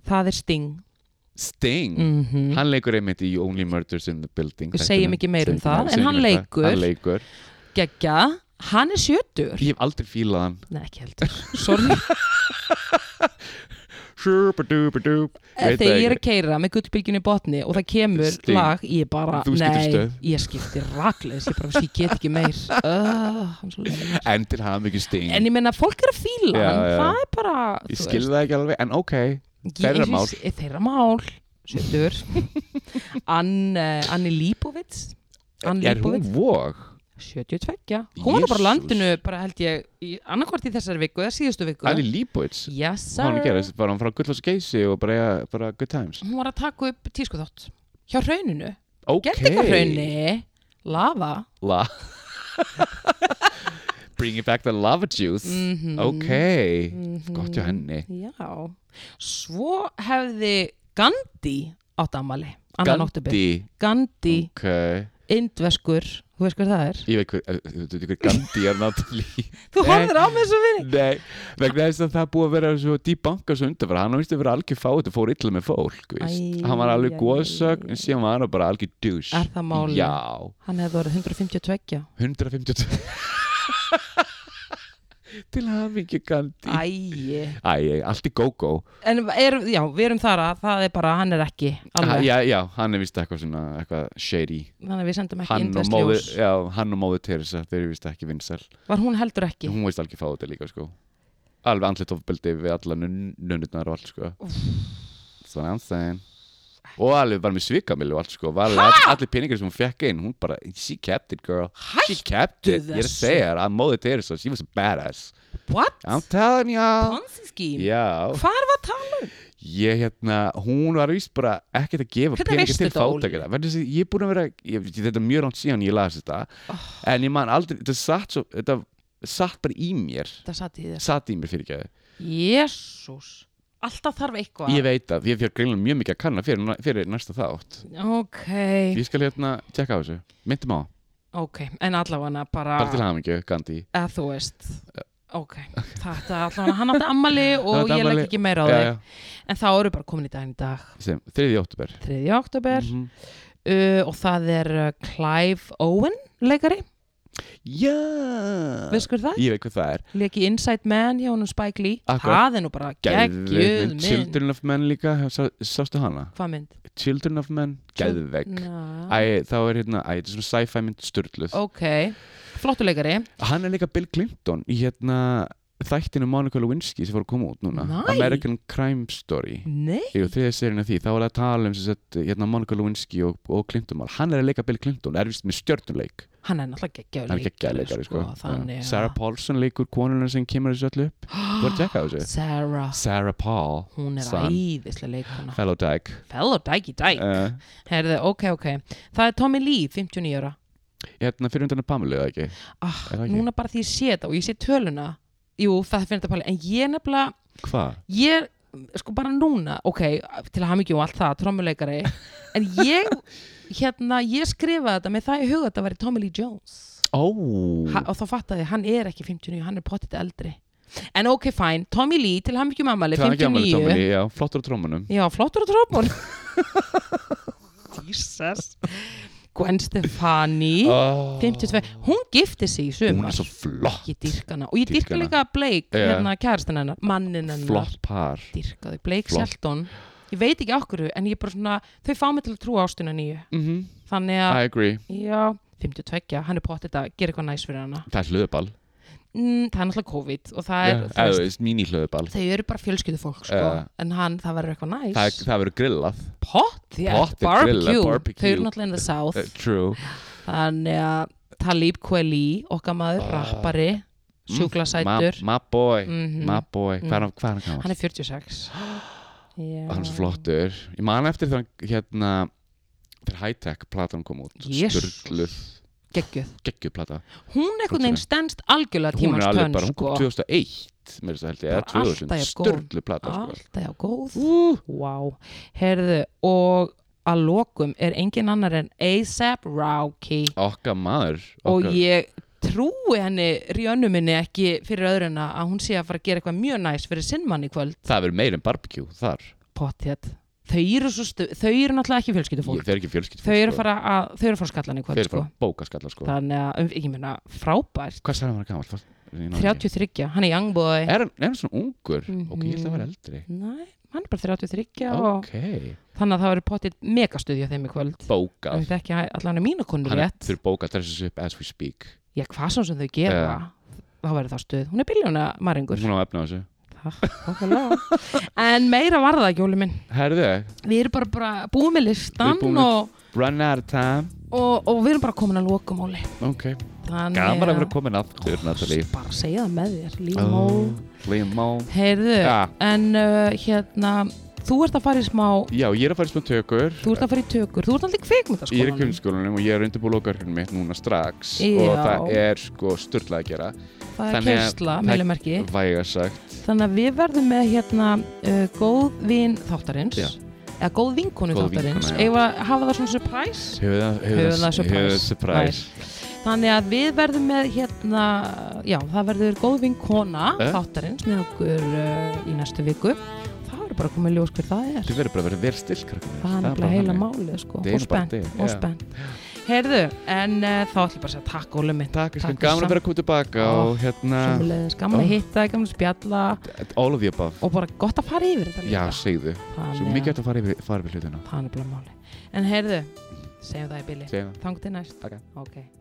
A: það er Sting
B: Sting,
A: mm
B: hann leikur einmitt í Only Murders in the Building
A: Við
B: þættinum.
A: segjum ekki meira um
B: Segjum
A: það,
B: meira-
A: en
B: segjum
A: hann
B: ekki meira.
A: leikur.
B: Hann leikur,
A: geggja, hann er sjötur
B: ég hef aldrei fílað hann
A: Nei, ekki heldur, sorry
B: Shubadubadup Ég veit
A: Eh, Þegar
B: það
A: ég er
B: ekki.
A: að keira með gullbylgjunni í botni og það kemur
B: Sting.
A: lag, ég bara
B: Þú skiptir
A: Nei,
B: stöð.
A: ég skipti rakleis, ég bara veist, ég get ekki meir uh,
B: En til hafa mikið Sting
A: En ég meina, fólk er að fíla
B: Já,
A: hann
B: já.
A: það er bara
B: Ég
A: þú
B: skil
A: veist,
B: það ekki alveg, en ok
A: ég-
B: þeirra
A: eins og ég- Þeirra mál, sjötur Ann, uh, Anni Lípovits Ann
B: Er hún
A: Lípovits,
B: vóg?
A: 72 Hún var nú bara á
B: Jesús.
A: landinu, bara held ég í- annarkvart í þessari viku, eða síðustu viku
B: Annie Leibovitz
A: Yes, sir
B: Hvað hann gerist, bara hann frá Gullfoss og Geysi og bara, bara good times
A: hún var að taka upp tískuþátt hjá hrauninu,
B: Ok
A: gerðingarhraunni lava
B: La Bring it back the lava juice
A: Mhm.
B: Ok
A: Mhm.
B: Gott hjá henni
A: já, svo hefði Gandhi átt amali annan óttubir,
B: Gandhi
A: Gandhi
B: Ok
A: indveskur, þú veist hvað það er Eh.
B: Ég veit hver, eh, þú veit hver Gandhi er náttúrulega í-
A: þú horfir á með þessu vinni
B: Nei Vegna þess að það er búið að vera svo dýp banka svo undanfæra Hann víst að vera algjör fáið að fór illa með fólk víst.
A: Æ,
B: Hann var
A: æ, æ,
B: alveg
A: æ,
B: góðsögn
A: æ.
B: En síðan var hann bara algjör douche
A: Er það málið?
B: Já
A: hann hefði orðið 152
B: 152 Til hafingi Gandhi
A: ægi,
B: Æ, allt í go-go
A: en er, já, við erum þar að það er bara, hann er ekki
B: Ah,
A: alveg,
B: já, já, hann er vist eitthvað svona eitthvað shady
A: þannig að við sendum ekki
B: hann og, móði,
A: indveskljós,
B: já, hann og móði Teresa þeir eru vist ekki vinsæl
A: var hún heldur ekki
B: hún veist alveg fá þetta líka sko alveg andlit ofbeldi við alla nunnurnar og allt sko svona anstæðin og alveg var með svikamil og allt sko var alveg all, allir peningar sem hún fekk inn hún bara, she kept it girl she kept it, ég er að
A: þessu.
B: segja þér að móði Teresa, she was a badass
A: what?
B: I'm telling y'all
A: Ponzi scheme?
B: já,
A: hvað er það að tala um?
B: ég hérna, hún var víst bara ekkert að gefa
A: Hvernig
B: peninga
A: veistu
B: til
A: þetta, Óli?
B: fátækara Vegna þess að ég er búin að vera, ég, þetta er mjög langt síðan ég las þetta
A: Oh.
B: en ég man aldrei, þetta satt svo þetta satt bara í mér
A: það satt í þér
B: satt í mér fyrir ekki
A: Jésús, alltaf þarf eitthvað
B: ég veit það, ég fyrir greinlega mjög mikið að kanna fyrir, fyrir næsta þátt
A: Ok,
B: ég skal hérna tjekka á þessu, myndum á
A: ok, en allavega bara,
B: bara til hamingju, Gandhi
A: að þú veist Ok, þetta er allavega hann átti ammali
B: Hann
A: og
B: átti
A: ég legg
B: afmæli.
A: ekki meira á
B: já,
A: þig
B: já,
A: En þá eru bara komin í daginn í dag
B: sem, 3. óttúber
A: 3. oktober
B: -hmm.
A: uh, og það er uh, Clive Owen leikari,
B: já,
A: veist hver það?
B: ég veit hvað það er
A: Leki Inside Man hjá honum Spike Lee
B: Akkurat.
A: Það er nú bara
B: Geðveik
A: geggjuð
B: mynd.
A: mynd
B: Children of Men líka, sá, sástu hana?
A: Hvað mynd?
B: Children of Men, geðvegg
A: Na,
B: Æ, þá er hérna, æ, þetta er svona sci-fi mynd styrluð
A: Ok, flottu leikari
B: Hann er líka Bill Clinton í hérna þættinu Monica Lewinsky sem fór að koma út núna
A: Nei.
B: American Crime Story
A: Nei,
B: Jú, þriðja serín af því, þá var það að tala um sem sagt, hérna, Monica Lewinsky og, og Clinton Mall hann er að leika Bill Clinton, er vist með stjörnuleik
A: hann er náttúrulega geggjaður
B: hann er ekki að leika sko.
A: þannig
B: Já.
A: að-
B: Sarah Paulson leikur konuna sem kemur þessu öllu upp þú ert að tjekka á þessu
A: Sarah,
B: Sarah Paul,
A: hún er
B: Son.
A: æðislega leikona
B: fellow dyke
A: Fellow Dæki Dæk
B: uh,
A: Herðu, ok, ok Það er Tommy Lee, 59 ára
B: hérna fyrir undan að Pamela eða ekki
A: ah,
B: Er það ekki?
A: Núna bara því ég sé þetta og ég sé töluna Jú, það finnir þetta pæli En ég nefnilega
B: hvað?
A: ég sko bara núna, ok, til að hafa mikið og allt það, trommuleikari en ég, hérna, ég skrifaði þetta með það í huga að þetta væri Tommy Lee Jones
B: ó,
A: ha, og þá fattaði ég, hann er ekki 59, hann er pottit eldri en ok, fine, Tommy Lee til hafa mikið mamali,
B: Hvað er gamla
A: 59
B: tómini, já, flottur á trómunum
A: já, flottur á trómun Jesus Gwen Stefani
B: oh,
A: 52, hún gifti sig í
B: hún
A: sumar
B: er svo flott,
A: ég dyrka hana og ég dyrka
B: Dýrka hana.
A: líka Blake,
B: Já.
A: hérna kærastan hennar, mannin hennar
B: flott par
A: dyrkaði, Blake
B: Flott.
A: Shelton ég veit ekki okkur, en ég bara svona þau fá mig til að trúa ástina nýju
B: mm
A: þannig að,
B: I agree,
A: já, 52 hann er pottet að gera eitthvað næs fyrir hana
B: það er hlöðubal
A: mm, það er náttúrulega COVID og það er, þú veist,
B: yeah. mini hlöðubal
A: þau eru bara fjölskyldu fólk sko,
B: Já.
A: en hann, það verður eitthvað næs
B: það, er- það verður grillað
A: pottet,
B: Pottet, grilla,
A: barbecue,
B: barbecue.
A: þau eru náttúrulega in the
B: uh,
A: south
B: true
A: þannig að Talib Kweli, okkar maður,
B: Ah. Mm,
A: rappari sjúklasætur
B: my, my boy,
A: Mhm.
B: my boy. Hvað, er, hann- hvað er hann gammal?
A: hann er 46 Já.
B: hann er svo flottur ég man eftir þegar hann, hérna þegar high-tech platan kom út
A: Jesús.
B: störluð,
A: geggjuð
B: geggjuð plata
A: hún eitthvað neginn stendst algjörlega
B: hún
A: tímans
B: er alveg
A: tönn
B: bara, hún
A: sko.
B: kom 2001 með þess að held ég,
A: Bara
B: eða
A: alltaf
B: 2000
A: jafn góð.
B: störluð plata sko.
A: alltaf já góð
B: Ú,
A: wow. herðu og að lokum er engin annar en A$AP Rocky
B: okkar maður
A: og
B: okkar,
A: ég trúi henni Rjönnu minni ekki fyrir öðru en að hún sé að fara að gera eitthvað mjög næs fyrir sinn mann í kvöld
B: það verður meir en barbecue þar
A: potthjætt þau eru, svo stu, þau eru náttúrulega ekki
B: ég,
A: fjölskyldufólk
B: þeir eru ekki fjölskyld
A: þau eru að fara að, þau eru að fara á skallan í
B: þeir
A: kvöld
B: eru
A: sko.
B: fara að bóka skalla sko.
A: þannig að um- ég meina frábært
B: hvað sagði hann var gammal?
A: 33, hann er young boy
B: er hann, er hann svona ungur?
A: Mhm.
B: ok, ég held að vera eldri
A: Nei, hann er bara 33 og
B: ok,
A: þannig að það verður pottit megastuði á þeim í kvöld
B: bókað
A: Það veit ekki allan að mínu konur
B: hann er
A: rétt
B: fyrir bókað, dressas upp as we speak
A: Já, hvað svo sem þau gera þá verður það stuð. Hún er biljóna maringur
B: hún á efna á þessu
A: En meira var það ekki, Óli minn
B: herðu,
A: Við erum bara, bara búið með
B: Við
A: listan
B: erum búin með-
A: og,
B: run out of time
A: og, og við erum bara komin að lokum, Óli
B: ok,
A: Þannig
B: gaman að vera komin aftur Natalie
A: Bara segja það með þér,
B: Ó,
A: límó
B: Liam Moe.
A: Heyrðu,
B: Ah. Ja.
A: en uh, hérna Þú ert að fara í smá
B: já, ég er að fara í smá tökur
A: Þú ert að fara í tökur, þú ert alltaf í
B: ég er í
A: kveikmyndaskólanum
B: kjömskólanum og ég er undirbúið lokarhjörnum mitt núna strax
A: Já.
B: og það er sko styrlað að gera
A: Það er
B: Þannig að-
A: kjörsla,
B: það-
A: meilumerki
B: væga sagt,
A: Þannig að við verðum með hérna uh, góð vin þáttarins
B: Já.
A: eða góð vinkonu
B: Góð
A: þáttarins
B: vinkona, já.
A: eða hafa það svona surprise
B: hefur það
A: Höfum það surprise.
B: hefur það surprise
A: þannig að við verðum með hérna já, það verður góð vinkona
B: Eh?
A: þáttarins með okkur uh, í næstu viku það verður bara að koma í ljós hver það er
B: þið verður bara að vera verið stilk krakkar
A: það er nefnilega heila málið sko
B: Það er
A: og
B: bara
A: spennt
B: þannig.
A: og spennt heyrðu, en uh, þá ætlum ég bara að segja takk Óli minn
B: takk,
A: Takk
B: takk
A: fyrir
B: gaman
A: sam-
B: að vera að koma tilbaka
A: Ó,
B: og hérna
A: Sömuleiðis, gaman
B: Ó.
A: að hitta, gaman að spjalla
B: all of the above
A: og bara gott að fara yfir þetta
B: já, segðu, svo
A: þannig
B: mikið eftir að fara yfir- fara yfir hlutina
A: Það er bara máli. En heyrðu, segjum það í bili.
B: segðu
A: Þangt til næst.
B: Ok.
A: Ok.